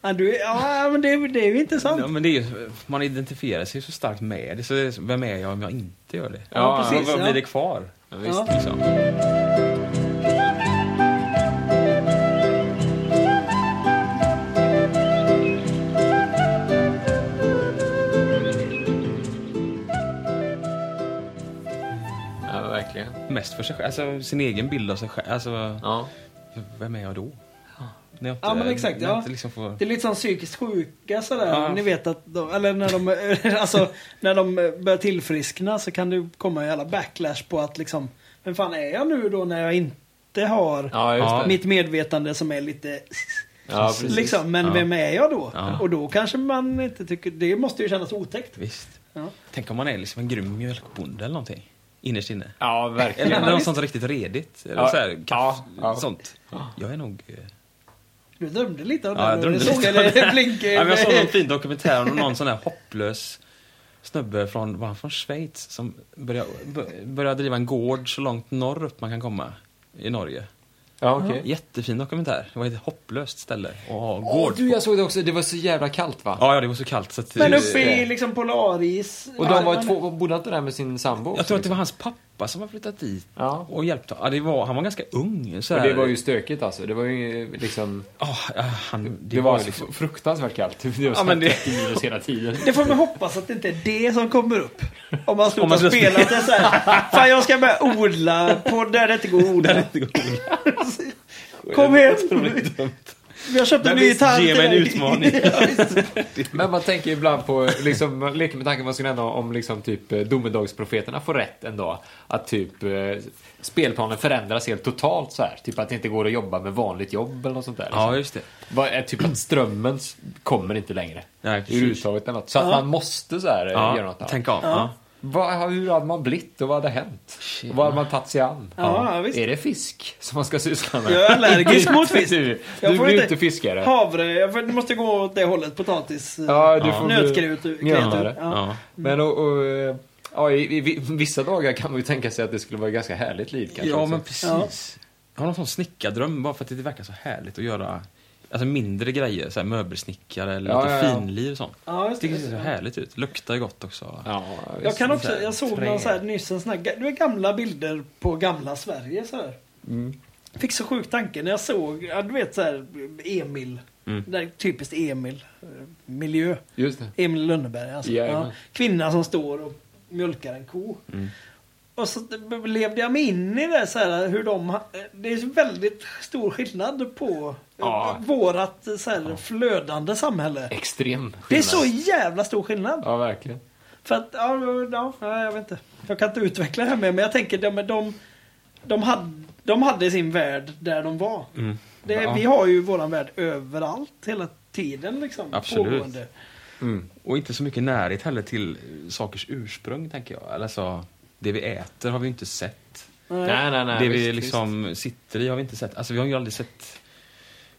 Speaker 2: Ja, du, är- ja men det, det är ju inte sant.
Speaker 5: Ja, men det är ju, man identifierar sig så starkt med det, så det är, så- vem är jag om jag inte gör det?
Speaker 2: Ja,
Speaker 5: Vad-
Speaker 2: precis.
Speaker 5: Vad blir det
Speaker 2: Ja.
Speaker 5: kvar?
Speaker 1: visst.
Speaker 2: Ja.
Speaker 5: Liksom?
Speaker 1: Ja, verkligen.
Speaker 5: Mest för sig själv, alltså sin egen bild av sig själv. Alltså,
Speaker 1: Ja.
Speaker 5: vem är jag då? När jag inte,
Speaker 2: Ja, men exakt,
Speaker 5: när jag
Speaker 2: ja.
Speaker 5: inte liksom får,
Speaker 2: Det är lite som psykiskt sjuka sådär.
Speaker 5: Ja.
Speaker 2: Ni vet att de, eller när de, alltså, när de börjar tillfriskna så kan det ju komma en jävla backlash på att liksom, vem fan är jag nu då när jag inte har
Speaker 1: Ja, just
Speaker 5: Ja.
Speaker 1: det.
Speaker 2: mitt medvetande som är lite
Speaker 1: Ja, precis.
Speaker 2: liksom, men vem är jag då?
Speaker 5: Ja.
Speaker 2: Och då kanske man inte tycker, det måste ju kännas otäckt.
Speaker 5: Visst.
Speaker 2: Ja.
Speaker 5: Tänk om man är liksom en grym mjölkbonde eller någonting. Innerst inne.
Speaker 1: Ja, verkligen.
Speaker 5: Eller något sånt riktigt redigt. Eller
Speaker 1: Ja.
Speaker 5: så här, kaff,
Speaker 1: Ja, ja.
Speaker 5: sånt. Jag är nog... eh,
Speaker 2: Du drömde lite om
Speaker 5: Ja, jag
Speaker 2: det.
Speaker 5: drömde
Speaker 2: Du såg
Speaker 5: lite om
Speaker 2: det blinka.
Speaker 5: Ja, men jag såg någon fin dokumentär om någon sån här hopplös snubbe från, var han från Schweiz? Som började, bör- började driva en gård så långt norrut man kan komma. I Norge.
Speaker 1: Ja, okej.
Speaker 5: Jättefin dokumentär. Det var ett hopplöst ställe att ha
Speaker 1: Åh,
Speaker 5: gård
Speaker 1: du,
Speaker 5: på.
Speaker 1: jag såg det också. Det var så jävla kallt va?
Speaker 5: Ja, ja, det var så kallt så att...
Speaker 2: Men
Speaker 5: eh,
Speaker 2: uppe i liksom polaris.
Speaker 1: Och
Speaker 2: Ja,
Speaker 1: de var ju
Speaker 2: men-
Speaker 1: två, bodde inte där med sin sambo
Speaker 5: Jag
Speaker 1: också,
Speaker 5: tror att det
Speaker 1: liksom?
Speaker 5: var hans pappa som har flyttat dit
Speaker 1: Ja.
Speaker 5: och hjälpt honom. Ja, det var, han var ganska ung. Så
Speaker 1: Och
Speaker 5: här-
Speaker 1: det var ju stökigt alltså. Det var ju liksom...
Speaker 5: Ja, ja, han, det,
Speaker 1: Det,
Speaker 5: var,
Speaker 1: var,
Speaker 5: ju liksom...
Speaker 1: fruktansvärt kallt. Det var
Speaker 5: Ja, men det-
Speaker 1: 30 minus hela tiden.
Speaker 2: Det får man hoppas att det inte är det som kommer upp. Om man slutar
Speaker 5: Om man slutar
Speaker 2: spela. Att det är så här, Fan jag ska börja odla på där det inte går att odla. Kom hem! Vi har köpt en
Speaker 5: Men
Speaker 2: ny
Speaker 5: visst,
Speaker 2: gitarr
Speaker 5: ge
Speaker 2: till
Speaker 5: mig en
Speaker 2: dig.
Speaker 5: utmaning.
Speaker 1: Men man tänker ibland på, liksom, man leker med tanken vad skulle hända om liksom, typ eh, domedagsprofeterna får rätt en dag. Att typ eh, spelplanen förändras helt totalt så här. Typ att det inte går att jobba med vanligt jobb eller något sånt där. liksom.
Speaker 5: Ja, just det.
Speaker 1: Vad är typ att strömmen s- kommer inte längre.
Speaker 5: Nej,
Speaker 1: Ur
Speaker 5: precis.
Speaker 1: uttaget eller något. Så att man måste så här, eh,
Speaker 5: Ja,
Speaker 1: göra något annat.
Speaker 5: tänk om. Ja.
Speaker 1: Vad, hur hade man blivit och vad hade hänt?
Speaker 5: Shit.
Speaker 1: Vad hade man tagit sig an?
Speaker 2: Ja, visst.
Speaker 1: Är det fisk som man ska syssla med?
Speaker 2: Jag är allergisk mot fisk.
Speaker 1: Du,
Speaker 2: Jag
Speaker 1: du
Speaker 2: får
Speaker 1: blir
Speaker 2: inte-
Speaker 1: inte fiskare.
Speaker 2: Havre, jag får- måste gå åt det hållet. Potatis,
Speaker 1: Ja, du får bli
Speaker 2: nötkreatur. kreatur.
Speaker 1: grönare.
Speaker 2: Ja.
Speaker 1: Men och, och, eh, ja, i, i, i vissa dagar kan man ju tänka sig att det skulle vara ett ganska härligt liv kanske.
Speaker 5: Ja,
Speaker 1: också.
Speaker 5: men precis. Jag har någon sån snickardröm bara för att det verkar så härligt att göra alltså, mindre grejer. Så här, möbelsnickare eller
Speaker 1: Ja,
Speaker 5: lite
Speaker 1: ja, ja.
Speaker 5: finlir och sånt.
Speaker 2: Ja, just
Speaker 5: Det ser
Speaker 2: det.
Speaker 5: så härligt ut. Luktar ju gott också.
Speaker 1: Ja,
Speaker 2: Jag
Speaker 1: visst.
Speaker 2: kan också, jag
Speaker 5: Sån
Speaker 2: såg
Speaker 5: där
Speaker 2: någon så här,
Speaker 5: trä.
Speaker 2: nyss en sån här, ga- det är gamla bilder på gamla Sverige så här.
Speaker 1: Mm.
Speaker 2: Fick så sjuk tanke när jag såg, ja, du vet så här, Emil.
Speaker 1: Mm.
Speaker 2: Det där typiskt Emil. eh, Miljö.
Speaker 1: Just det.
Speaker 2: Emil Lönneberg alltså.
Speaker 1: Jajamän.
Speaker 2: Ja, kvinna som står och mjölkar en ko. Och så levde jag mig in i det så här hur de, ha- det är väldigt stor skillnad på
Speaker 1: Ja.
Speaker 2: ja. vårat så här, flödande samhälle.
Speaker 1: Extrem skillnad.
Speaker 2: Det är så jävla stor skillnad.
Speaker 1: Ja, verkligen.
Speaker 2: För att, ja, ja, ja, jag vet inte. Jag kan inte utveckla det här mer, men jag tänker de, de, de, hade, de hade sin värld där de var. Det,
Speaker 5: Ja.
Speaker 2: Vi har ju våran värld överallt hela tiden liksom.
Speaker 5: Absolut.
Speaker 2: Pågående.
Speaker 1: Mm.
Speaker 5: Och inte så mycket närhet heller till eh, sakers ursprung, tänker jag. Eller så... Det vi äter har vi inte sett.
Speaker 1: Nej, nej, nej.
Speaker 5: det vi
Speaker 1: visst,
Speaker 5: liksom sitter i har vi inte sett. Alltså vi har ju aldrig sett...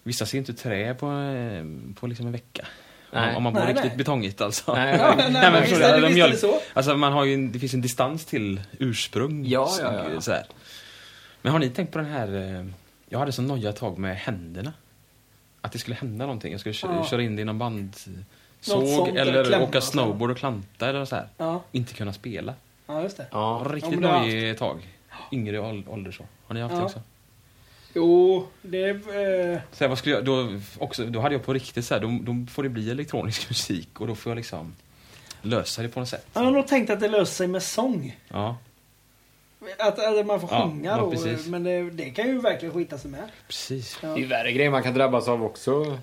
Speaker 5: Vissa ser inte trä på, eh, på liksom en vecka. Om-
Speaker 1: Nej.
Speaker 5: Om man bor
Speaker 2: Nej,
Speaker 5: riktigt
Speaker 2: nej.
Speaker 5: betongigt alltså.
Speaker 1: Nej,
Speaker 2: Ja, nej, nej, men
Speaker 5: förstår
Speaker 2: visst
Speaker 5: du?
Speaker 2: är det,
Speaker 5: Eller
Speaker 2: visst är det
Speaker 5: mjölk-
Speaker 2: så.
Speaker 5: Alltså man har ju en, det finns en distans till ursprung.
Speaker 1: Ja, ja, ja.
Speaker 5: Så här. Men har ni tänkt på den här, eh, jag hade sån noja ett tag med händerna. Att det skulle hända någonting, jag skulle kö-
Speaker 2: Ja.
Speaker 5: köra in det i någon
Speaker 2: Något sånt,
Speaker 5: bandsåg
Speaker 2: eller klämma,
Speaker 5: eller åka
Speaker 2: alltså.
Speaker 5: snowboard och klanta eller så här.
Speaker 2: Ja,
Speaker 5: Inte kunna spela.
Speaker 2: ja, just det.
Speaker 5: Ja,
Speaker 1: Ja.
Speaker 5: riktigt
Speaker 2: men det har jag
Speaker 5: nojig ett tag. Yngre ål- ålder så. Har ni haft
Speaker 2: Ja.
Speaker 5: det också?
Speaker 2: Jo, det är... eh,
Speaker 5: Så här, vad skulle jag, då, också, då hade jag på riktigt så här, då, då får det bli elektronisk musik och då får jag liksom lösa det på något sätt.
Speaker 2: Jag har nog tänkt att det löser sig med sång.
Speaker 5: Ja,
Speaker 2: Att, att man får
Speaker 5: Ja,
Speaker 2: sjunga
Speaker 5: ja,
Speaker 2: då.
Speaker 5: precis.
Speaker 2: Men det, det kan ju verkligen skita sig med.
Speaker 5: precis.
Speaker 2: Ja.
Speaker 1: Det är ju värre grejer man kan drabbas av också.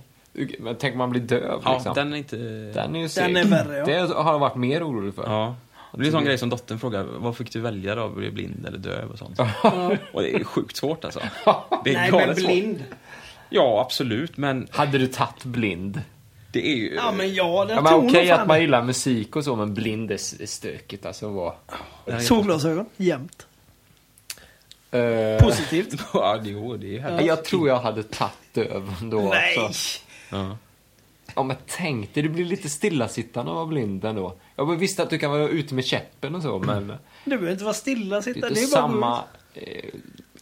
Speaker 1: Men Tänk om man blir döv
Speaker 5: Ja,
Speaker 1: liksom.
Speaker 5: den är inte...
Speaker 1: den är ju
Speaker 2: Den är värre, ja.
Speaker 1: Det har jag varit mer orolig för.
Speaker 5: Ja. Det blir en sån grej som dottern frågar, vad fick du välja då? Blir du blind eller döv och sånt? Och det är sjukt svårt alltså. Det är
Speaker 2: Nej, men
Speaker 5: galet svårt.
Speaker 2: blind.
Speaker 5: Ja, absolut, men
Speaker 1: Hade du tagit blind?
Speaker 5: det är ju...
Speaker 2: Ja, men ja, det
Speaker 1: Ja,
Speaker 2: jag
Speaker 1: men
Speaker 2: tror
Speaker 1: okej
Speaker 2: nog fan
Speaker 1: att man gillar musik och så, men blind är s- är stökigt alltså. Vad...
Speaker 5: Den är-
Speaker 2: Solglasögon, jämt.
Speaker 1: Eh,
Speaker 2: Positivt.
Speaker 5: Ja, det- jo, det är härligt.
Speaker 1: jag tror jag hade tagit döv ändå.
Speaker 2: Nej!
Speaker 1: Alltså.
Speaker 5: Ja.
Speaker 1: Ja, men tänk dig, du blir lite stillasittande av att vara blind ändå. Jag bara visste att du kan vara ute med käppen och så, men det
Speaker 2: Du behöver inte vara stilla
Speaker 1: är
Speaker 2: sitta.
Speaker 1: inte
Speaker 2: Det är bara
Speaker 1: samma... eh,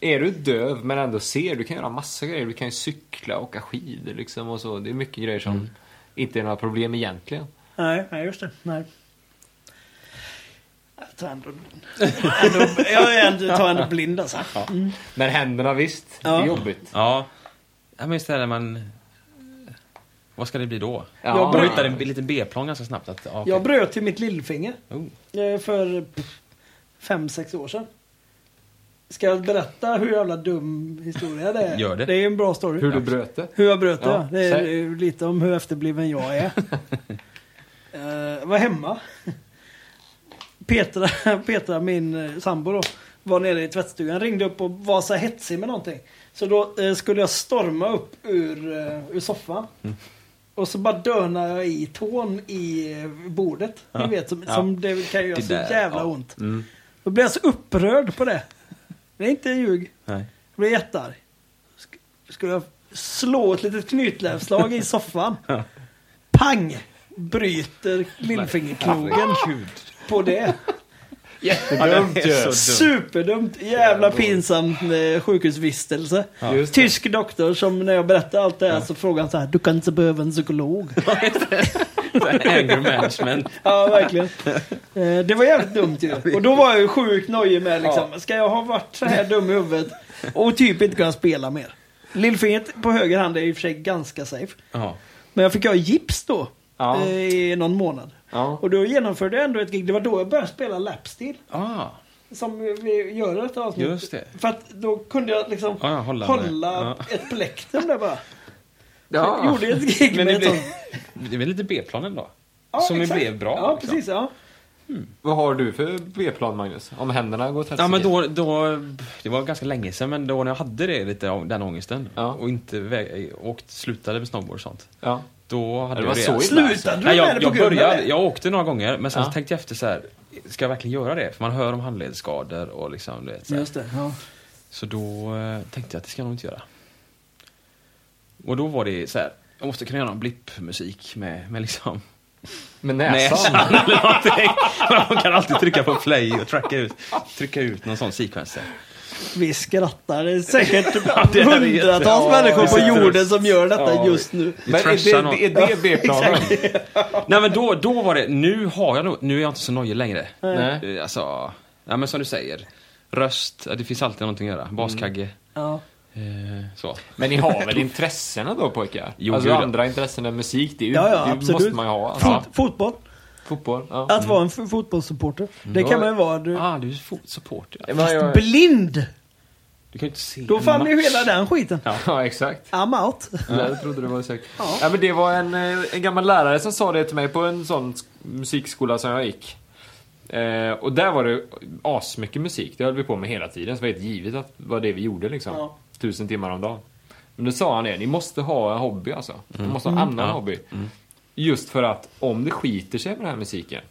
Speaker 1: Är du döv men ändå ser, du kan göra massa grejer. Du kan ju cykla, åka skidor liksom och så. Det är mycket grejer som inte är några problem egentligen.
Speaker 2: Nej, nej just det. Nej. Jag tar ändå, ändå, jag är ändå, tar ändå blind alltså.
Speaker 1: Men händerna visst, det
Speaker 2: Ja.
Speaker 1: är jobbigt.
Speaker 5: Ja. ja, men just det här när man... Vad ska det bli då?
Speaker 1: Ja.
Speaker 5: Ja, man hittar en liten B-plan ganska snabbt. Att, ja, okej.
Speaker 2: Jag bröt ju mitt lillfinger
Speaker 5: Oh.
Speaker 2: eh, för fem sex år sedan. Ska jag berätta hur jävla dum historia det är?
Speaker 5: Gör det.
Speaker 2: Det är ju en bra story.
Speaker 1: Hur du bröt det.
Speaker 2: Hur jag bröt det, ja.
Speaker 1: Ja,
Speaker 2: Det är
Speaker 1: säg.
Speaker 2: ju lite om hur efterbliven jag är. uh, var hemma. Petra, Petra, min eh, sambo då, var nere i tvättstugan. Ringde upp och var så här hetsig med någonting. Så då eh, skulle jag storma upp ur, eh, ur soffan.
Speaker 5: Mm.
Speaker 2: Och så bara dönar jag i tån i eh, bordet. Ni vet, som,
Speaker 5: Ja.
Speaker 2: som det kan göra
Speaker 5: Det
Speaker 2: så
Speaker 5: där,
Speaker 2: jävla
Speaker 5: ja. Mm.
Speaker 2: ont. Då blev jag så upprörd på det. Det är inte ljug.
Speaker 5: Nej.
Speaker 2: Jag blev jättearg. Sk- Skulle jag slå ett litet knytnävsslag i soffan. Pang! Bryter lillfingerknogen på det.
Speaker 1: Jättedumt ju.
Speaker 2: Superdumt. Jävla pinsam eh, sjukhusvistelse.
Speaker 1: Just det.
Speaker 2: Tysk doktor som när jag berättade allt det här så frågade han så här. Du kan inte behöva en psykolog.
Speaker 5: Anger management.
Speaker 2: Ja, verkligen. Eh, Det var jävligt dumt ju. Och då var jag ju sjukt nojig med liksom, ska jag ha varit så här dum i huvudet och typ inte kunna spela mer? Lillfingret på höger hand är i och för sig ganska safe.
Speaker 5: Ja.
Speaker 2: Men jag fick ha gips då.
Speaker 1: Ja.
Speaker 2: eh, I någon månad.
Speaker 1: Ja.
Speaker 2: Och då genomförde jag ändå ett gig. Det var då jag började spela lapsteel.
Speaker 5: Ah,
Speaker 2: Som vi gör i detta avsnitt.
Speaker 5: Just det.
Speaker 2: För att då kunde jag liksom
Speaker 5: Ja, ja, hålla med.
Speaker 2: hålla ett plektrum där bara. Jag
Speaker 1: Ja.
Speaker 2: gjorde ett gig
Speaker 5: Men
Speaker 2: med
Speaker 5: det
Speaker 2: ett
Speaker 5: blev,
Speaker 2: sånt.
Speaker 5: det blev lite B-plan ändå.
Speaker 2: Ja,
Speaker 5: som ju
Speaker 2: exakt.
Speaker 5: blev bra.
Speaker 2: Ja,
Speaker 5: liksom.
Speaker 2: precis. Ja.
Speaker 1: Vad har du för B-plan Magnus? Om händerna går åt
Speaker 5: Ja men
Speaker 1: helsike?
Speaker 5: då, då, det var ganska länge sedan men då när jag hade det lite, av den ångesten
Speaker 1: Ja.
Speaker 5: och inte vä- åkt, slutade med snowboard och sånt.
Speaker 1: Ja.
Speaker 5: Då hade
Speaker 1: Det var
Speaker 5: jag redan-
Speaker 1: så illa alltså.
Speaker 2: Slutade du
Speaker 5: Nej,
Speaker 2: med
Speaker 5: jag,
Speaker 2: det
Speaker 5: jag
Speaker 2: på grund av
Speaker 5: började,
Speaker 2: det?
Speaker 5: jag åkte några gånger men sen
Speaker 1: Ja.
Speaker 5: så tänkte jag efter så här. Ska jag verkligen göra det? För man hör om handledsskador och liksom du vet, så, här.
Speaker 2: Just det. Ja.
Speaker 5: så då eh, tänkte jag att det ska jag nog inte göra. Och då var det så här. Jag måste kunna göra någon blippmusik med, med liksom
Speaker 1: Med näsan?
Speaker 5: näsan eller någonting. Man kan alltid trycka på play och tracka ut, trycka ut någon sån sekvens där.
Speaker 2: Vi skrattar. Det är säkert
Speaker 5: det är
Speaker 2: hundratals
Speaker 5: jätte-
Speaker 2: människor
Speaker 5: ja,
Speaker 2: på
Speaker 5: ja.
Speaker 2: jorden som gör detta just nu.
Speaker 5: Vi
Speaker 1: Men
Speaker 5: trashar
Speaker 1: är
Speaker 5: någon.
Speaker 1: det, är det B-planen?
Speaker 5: Nej men då, då var det, nu har jag nog, nu är jag inte så nojig längre.
Speaker 1: Nej.
Speaker 5: Eh, Alltså, nej men som du säger. Röst, eh, det finns alltid någonting att göra. Baskagge.
Speaker 2: Ja.
Speaker 5: Eh, så.
Speaker 1: Men ni har väl intressena då pojkar?
Speaker 5: Jo,
Speaker 1: alltså
Speaker 5: gud, ja.
Speaker 1: andra intressen än musik, det, är ju,
Speaker 2: Ja, ja,
Speaker 1: det
Speaker 2: absolut.
Speaker 1: måste man ju ha. Alltså. Mm.
Speaker 2: Fot, fotboll.
Speaker 1: Fotboll, ja.
Speaker 2: Att vara en f- fotbollssupporter.
Speaker 1: Mm.
Speaker 2: Det kan man ju vara. Du,
Speaker 5: Ah, du är fo- supporter. ja.
Speaker 1: Ja, ja, ja.
Speaker 2: blind!
Speaker 5: Du kan ju inte se
Speaker 2: Då
Speaker 5: en
Speaker 2: fann ju
Speaker 5: match.
Speaker 2: hela den skiten.
Speaker 1: ja exakt.
Speaker 2: I'm out.
Speaker 1: Ja, jag trodde det var säkert.
Speaker 2: Ja.
Speaker 1: Ja. men det var en, eh, en gammal lärare som sa det till mig på en sån sk- musikskola som jag gick. Eh, och där var det asmycket musik. Det höll vi på med hela tiden. Så det var helt givet att det var det vi gjorde liksom.
Speaker 2: Ja.
Speaker 1: Tusen timmar om dagen. Men då sa han det, ni måste ha en hobby alltså. Ni måste ha en annan hobby. Just för att om det skiter sig med den här musiken.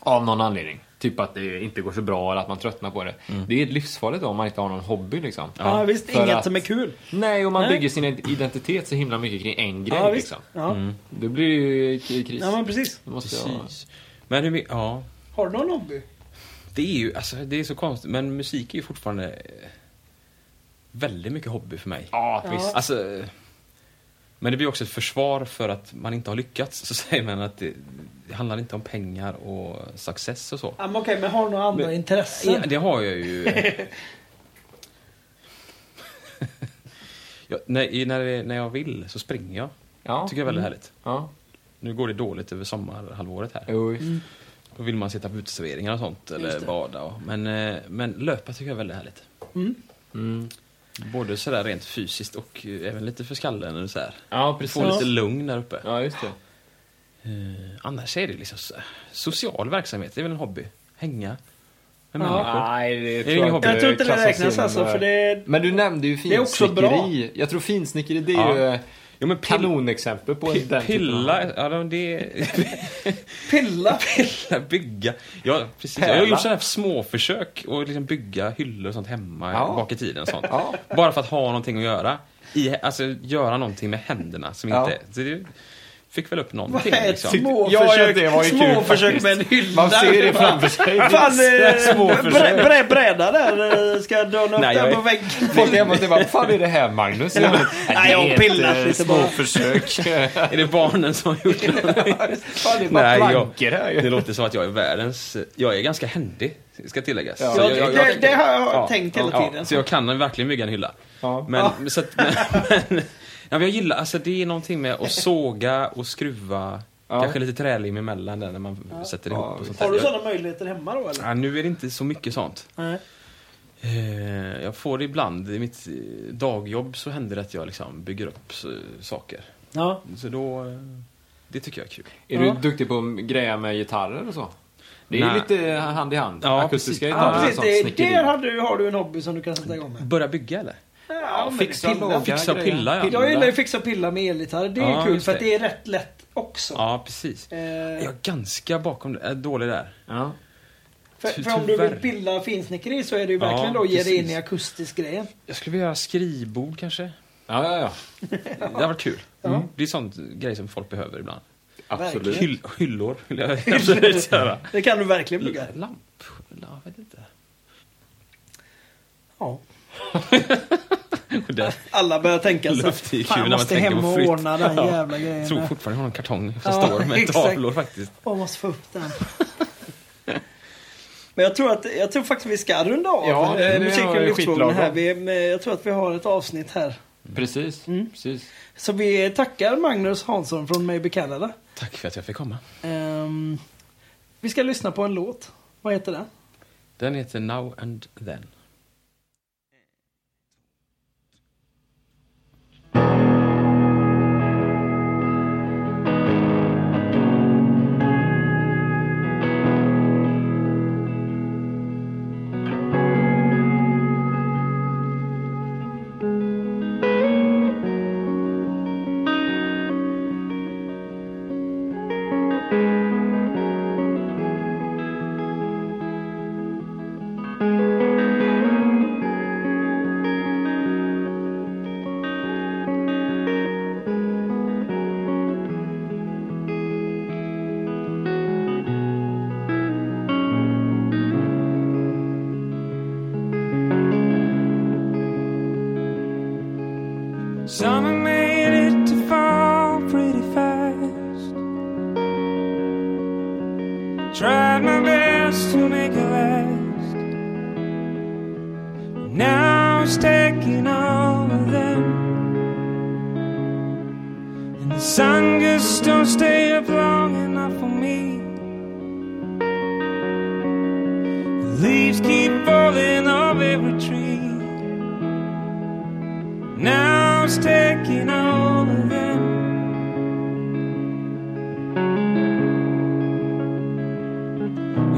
Speaker 1: Av någon anledning. Typ att det inte går så bra eller att man tröttnar på det. Det är livsfarligt då, om man inte har någon hobby liksom.
Speaker 2: Ja, visst,
Speaker 1: För
Speaker 2: inget
Speaker 1: att-
Speaker 2: som är kul.
Speaker 1: Nej, och man
Speaker 2: Nej.
Speaker 1: bygger sin identitet så himla mycket kring en grej
Speaker 2: Ja, visst.
Speaker 1: liksom.
Speaker 2: Ja.
Speaker 1: Då blir det ju k- kris.
Speaker 2: ja, men precis.
Speaker 1: Då måste jag-
Speaker 5: Precis. Men hur mycket, ja.
Speaker 2: Har du någon hobby?
Speaker 5: Det är ju, alltså det är så konstigt, men musik är ju fortfarande eh, väldigt mycket hobby för mig.
Speaker 1: Ja, visst.
Speaker 5: Alltså, eh, men det blir också ett försvar för att man inte har lyckats. Så säger man att det, det handlar inte om pengar och success och så.
Speaker 1: Alltså.
Speaker 2: Ja, men okej, men har du några andra
Speaker 5: Men-
Speaker 2: intressen?
Speaker 5: Ja, det har jag ju. ja, när, när, det- när jag vill så springer jag.
Speaker 1: Ja. Mm.
Speaker 5: tycker jag är väldigt härligt.
Speaker 1: Ja.
Speaker 5: Nu går det dåligt över sommarhalvåret här.
Speaker 1: Jo, visst.
Speaker 2: Mm.
Speaker 5: Då vill man sitta på uteserveringar och sånt, eller bada. Och, men, eh, men löpa tycker jag är väldigt härligt.
Speaker 1: Mm.
Speaker 5: Både sådär rent fysiskt och eh, även lite för skallen. Eller så här.
Speaker 1: Ja, precis.
Speaker 5: Få lite lugn där uppe.
Speaker 1: Ja, just det.
Speaker 5: Eh, Annars är det liksom så- social verksamhet, det är väl en hobby? Hänga med
Speaker 2: Ja.
Speaker 5: människor.
Speaker 1: Nej, det
Speaker 5: tror jag ingen hobby.
Speaker 2: jag tror inte det
Speaker 1: klassas
Speaker 2: räknas
Speaker 1: in
Speaker 2: alltså,
Speaker 1: under-
Speaker 2: för det...
Speaker 1: Men du nämnde ju
Speaker 2: Det är också
Speaker 1: finsnickeri. Jag tror finsnickeri det är
Speaker 5: Ja.
Speaker 1: ju eh,
Speaker 5: Jo, men pill-
Speaker 1: kanonexempel på
Speaker 5: pi-
Speaker 1: den typen av-
Speaker 5: Pilla, ja, men det
Speaker 2: Pilla!
Speaker 5: pilla, bygga. Ja, precis. Jag har
Speaker 1: Pärla.
Speaker 5: gjort sådana här småförsök och liksom bygga hyllor och sånt hemma
Speaker 1: Ja.
Speaker 5: bak i tiden. Och sånt.
Speaker 1: Ja.
Speaker 5: Bara för att ha någonting att göra. I, alltså göra någonting med händerna som
Speaker 1: Ja.
Speaker 5: inte... Så det, fick väl upp
Speaker 2: Vad
Speaker 5: någonting.
Speaker 2: är ett
Speaker 5: Liksom.
Speaker 1: Ja, ja,
Speaker 2: småförsök?
Speaker 1: det var ju kul
Speaker 2: småförsök
Speaker 1: faktiskt.
Speaker 2: med en hylla?
Speaker 1: Man ser det framför sig.
Speaker 2: Fan, eh,
Speaker 1: Småförsök.
Speaker 2: bre, bre, bräda där. eh, Ska jag dörna upp
Speaker 5: Nej,
Speaker 2: där
Speaker 5: jag
Speaker 2: på
Speaker 5: är-
Speaker 2: väggen?
Speaker 1: Folk hemma och säger vad fan är det här Magnus? Nej,
Speaker 2: jag har pillat
Speaker 1: eh,
Speaker 2: lite bara.
Speaker 1: Småförsök.
Speaker 5: Är det barnen som har gjort någonting?
Speaker 1: Fan, det är bara
Speaker 5: Nej, jag-
Speaker 1: plankor här ju.
Speaker 5: Det låter som att jag är världens... Jag är ganska händig, ska tilläggas. Så
Speaker 2: Ja,
Speaker 5: jag- jag-
Speaker 2: det, det har jag
Speaker 5: Ja,
Speaker 2: tänkt hela
Speaker 5: ja,
Speaker 2: tiden.
Speaker 5: Så jag kan verkligen bygga en hylla.
Speaker 1: Ja.
Speaker 5: Men, så att, men, men, ja, men jag gillar, alltså det är någonting med att såga och skruva.
Speaker 1: Ja.
Speaker 5: Kanske lite trälim emellan där när man sätter ihop och sånt
Speaker 2: Har du
Speaker 5: där.
Speaker 2: sådana möjligheter hemma då eller?
Speaker 5: Ja, nu är det inte så mycket sånt.
Speaker 2: Nej.
Speaker 5: Eh, Jag får det ibland, i mitt eh, dagjobb så händer det att jag liksom bygger upp så- saker.
Speaker 2: Ja.
Speaker 5: Så då, eh, det tycker jag är kul.
Speaker 1: Är du duktig på att greja med gitarrer och så? Det är
Speaker 5: Nej.
Speaker 1: lite hand i hand.
Speaker 5: Ja,
Speaker 1: Akustiska
Speaker 5: precis.
Speaker 1: gitarrer
Speaker 2: Ja,
Speaker 1: och
Speaker 2: precis.
Speaker 1: sånt
Speaker 2: Det,
Speaker 1: snickeri.
Speaker 2: där har du, har du en hobby som du kan sätta igång med.
Speaker 5: Börja bygga eller?
Speaker 2: Ja, liksom, men
Speaker 1: fixa
Speaker 2: pilla.
Speaker 1: låga
Speaker 5: Fixa och
Speaker 1: grejer.
Speaker 5: pilla ja.
Speaker 2: Jag gillar ju fixa och pilla med elgitarr. Det är
Speaker 5: Ja,
Speaker 2: ju kul
Speaker 5: just
Speaker 2: för att
Speaker 5: det.
Speaker 2: det är rätt lätt också.
Speaker 5: Ja, precis.
Speaker 2: Eh,
Speaker 5: Jag är ganska bakom, äh, dålig där.
Speaker 1: Ja.
Speaker 2: för,
Speaker 5: ty-
Speaker 2: för om du vill
Speaker 5: tyvärr.
Speaker 2: pilla finsnickeri så är det ju
Speaker 5: Ja,
Speaker 2: verkligen då att ge dig in
Speaker 5: precis.
Speaker 2: i akustisk grejen.
Speaker 5: Jag skulle vilja göra skrivbord kanske.
Speaker 1: Ja, ja, ja.
Speaker 5: Det hade varit kul. Mm. Det är sånt grej som folk behöver ibland.
Speaker 1: Absolut.
Speaker 2: Verkligen.
Speaker 5: Hyll, hyllor vill jag absolut göra.
Speaker 2: Det kan du verkligen bygga.
Speaker 5: Lamp? Jag vet inte.
Speaker 2: Ja.
Speaker 5: Det
Speaker 2: Alla börjar tänka så.
Speaker 5: Luft i
Speaker 2: Fan,
Speaker 5: kul
Speaker 2: jag
Speaker 5: när man
Speaker 2: måste
Speaker 5: tänker
Speaker 2: hem
Speaker 5: på
Speaker 2: och
Speaker 5: flytt."
Speaker 2: ordna den
Speaker 5: Ja.
Speaker 2: jävla
Speaker 5: jag
Speaker 2: grejen.
Speaker 5: tror
Speaker 2: där.
Speaker 5: fortfarande jag har en kartong som
Speaker 2: Ja,
Speaker 5: står med
Speaker 2: exakt.
Speaker 5: tavlor faktiskt.
Speaker 2: Jag måste få upp den. Men jag tror, att, jag tror faktiskt vi ska runda av
Speaker 1: Ja, det-
Speaker 2: eh,
Speaker 1: det
Speaker 2: musik
Speaker 1: var
Speaker 2: och
Speaker 1: ju
Speaker 2: livsfrågorna
Speaker 1: skitlagom.
Speaker 2: här. Vi, men jag tror att vi har ett avsnitt här.
Speaker 1: Precis.
Speaker 2: Mm.
Speaker 1: Precis.
Speaker 2: Så vi tackar Magnus Hansson från Maybe Canada.
Speaker 5: Tack för att jag fick komma.
Speaker 2: Ehm, vi ska lyssna på en låt. Vad heter den?
Speaker 5: Den heter Now and Then.
Speaker 7: Summer made it to fall pretty fast. Tried my best to make it last. Now it's taking over them. And the sun just don't stay up long enough for me. The leaves keep falling off every tree. Now it's taking over them.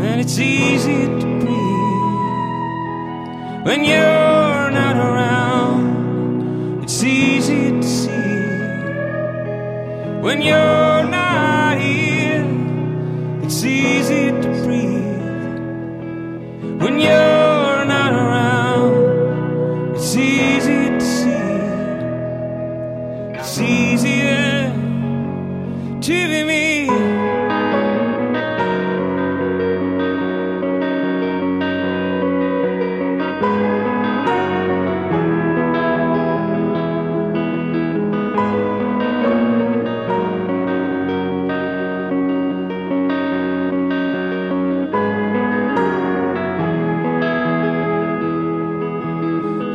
Speaker 7: And it's easy to breathe when you're not around. It's easy to see when you're not here. It's easy to breathe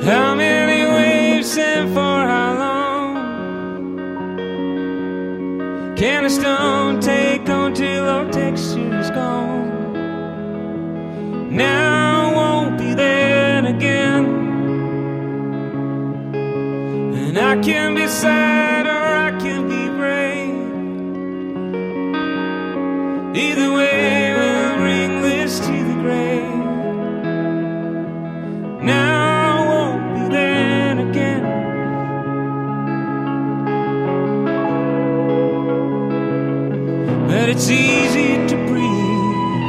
Speaker 7: How many waves and for how long? Can a stone take on till our texture is gone? Now I won't be there again. And I can be sad or I can be brave. Either way, we'll bring this to the grave. Now I won't be there again. But it's easy to breathe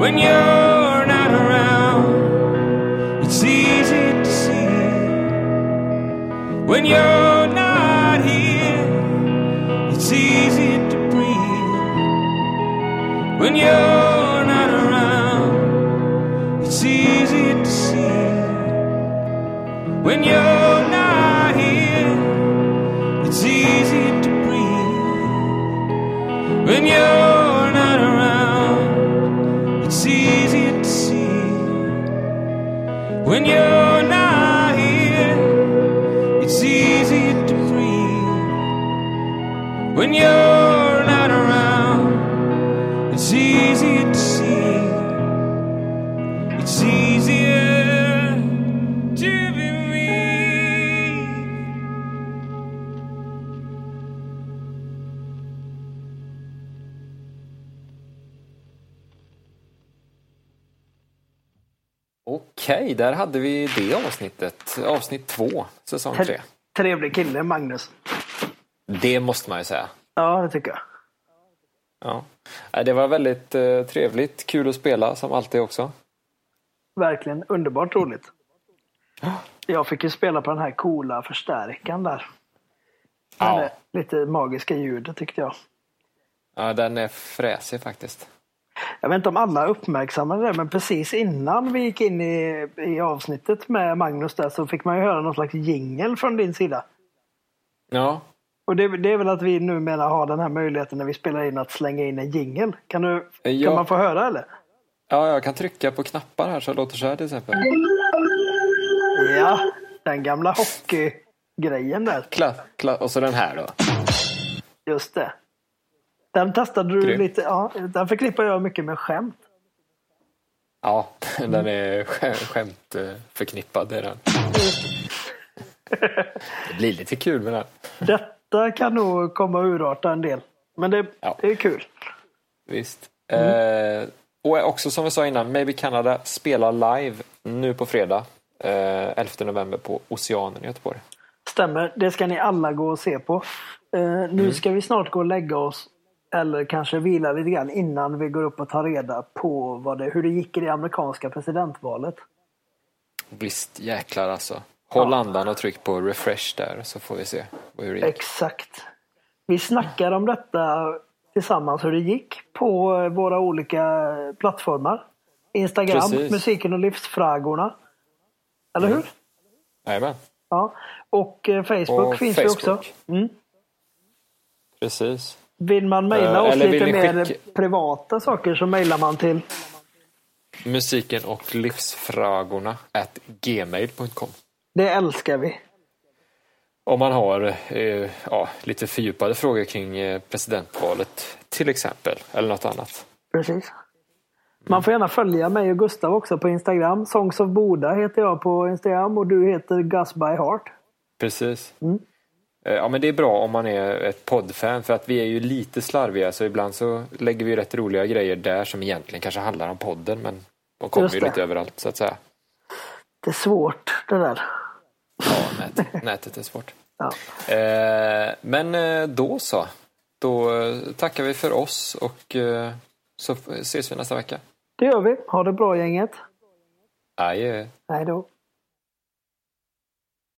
Speaker 7: when you're not around. It's easy to see when you're not here. It's easy to breathe when you're not around. It's easy to see when you're not here. It's easy to breathe when you're not around. It's easy to see when you're not here. It's easy to breathe when you're not around. It's easy to see. It's easier to be me.
Speaker 1: Okej, där hade vi det avsnittet. Avsnitt två, säsong tre.
Speaker 2: Trevlig kille, Magnus.
Speaker 1: Det måste man ju säga.
Speaker 2: Ja, det tycker jag.
Speaker 1: Ja. Nej, Det var väldigt eh, trevligt. Kul att spela som alltid också.
Speaker 2: Verkligen underbart roligt. Jag fick ju spela på den här coola förstärkan där.
Speaker 1: Ja.
Speaker 2: Med det lite magiska ljudet tyckte jag.
Speaker 1: Ja, den är fräsig faktiskt.
Speaker 2: Jag vet inte om alla uppmärksammade det, men precis innan vi gick in i, i avsnittet med Magnus där så fick man ju höra någon slags jingel från din sida.
Speaker 1: Ja,
Speaker 2: Och det, det är väl att vi numera har den här möjligheten när vi spelar in att slänga in en jingel. Kan, du,
Speaker 1: Ja.
Speaker 2: kan man få höra eller?
Speaker 1: ja jag kan trycka på knappar här så det låter så här till exempel.
Speaker 2: Ja, den gamla hockeygrejen där.
Speaker 1: Kla, kla, och så den här då.
Speaker 2: Just det. Den testade du
Speaker 1: Grymt.
Speaker 2: lite. Ja, den förknippar jag mycket med skämt.
Speaker 1: Ja, den är skä- skämtförknippad. Är den. Det blir lite kul med den.
Speaker 2: Detta kan nog komma att urarta en del. Men det,
Speaker 1: Ja.
Speaker 2: det är kul.
Speaker 1: Visst. Eh, och också som vi sa innan, Maybe Canada spelar live nu på fredag. Eh, 11 november på Oceanen i Göteborg.
Speaker 2: Stämmer, det ska ni alla gå och se på. Eh, nu
Speaker 1: Mm.
Speaker 2: ska vi snart gå och lägga oss. Eller kanske vila lite grann innan vi går upp och tar reda på vad det, hur det gick i det amerikanska presidentvalet.
Speaker 1: Visst jäklar alltså. Håll andan och tryck på refresh där så får vi se hur det gick.
Speaker 2: Exakt. Vi snackar om detta tillsammans hur det gick på eh, våra olika plattformar. Instagram,
Speaker 1: Precis. Mm.
Speaker 2: musiken och livsfrågorna. Eller hur?
Speaker 1: Jajamän,
Speaker 2: Ja. Och eh, Facebook
Speaker 1: Och
Speaker 2: finns ju också.
Speaker 1: Facebook. precis.
Speaker 2: Vill man mejla
Speaker 1: Eh,
Speaker 2: oss
Speaker 1: eller vill
Speaker 2: lite
Speaker 1: ni
Speaker 2: mer
Speaker 1: skicka-
Speaker 2: privata saker så mejlar man till
Speaker 1: Musiken och livsfrågorna at gmail.com.
Speaker 2: Det älskar vi.
Speaker 1: Om man har eh, ja, lite fördjupade frågor kring eh, presidentvalet till exempel, eller något annat.
Speaker 2: Precis. Man får gärna följa mig och Gustav också på Instagram. Songs of Boda heter jag på Instagram och du heter Gus by Heart.
Speaker 1: Precis.
Speaker 2: Mm.
Speaker 1: Eh, Ja, men det är bra om man är ett poddfan för att vi är ju lite slarviga så ibland så lägger vi rätt roliga grejer där som egentligen kanske handlar om podden men de kommer
Speaker 2: Just
Speaker 1: ju
Speaker 2: det.
Speaker 1: lite överallt så att säga.
Speaker 2: Det är svårt det där.
Speaker 1: Ja, nätet, nätet är svårt.
Speaker 2: Ja.
Speaker 1: Eh, men eh, då så. Då eh, tackar vi för oss och eh, så f- ses vi nästa vecka.
Speaker 2: Det gör vi. Ha det bra gänget.
Speaker 1: Adjö.
Speaker 2: Hej då.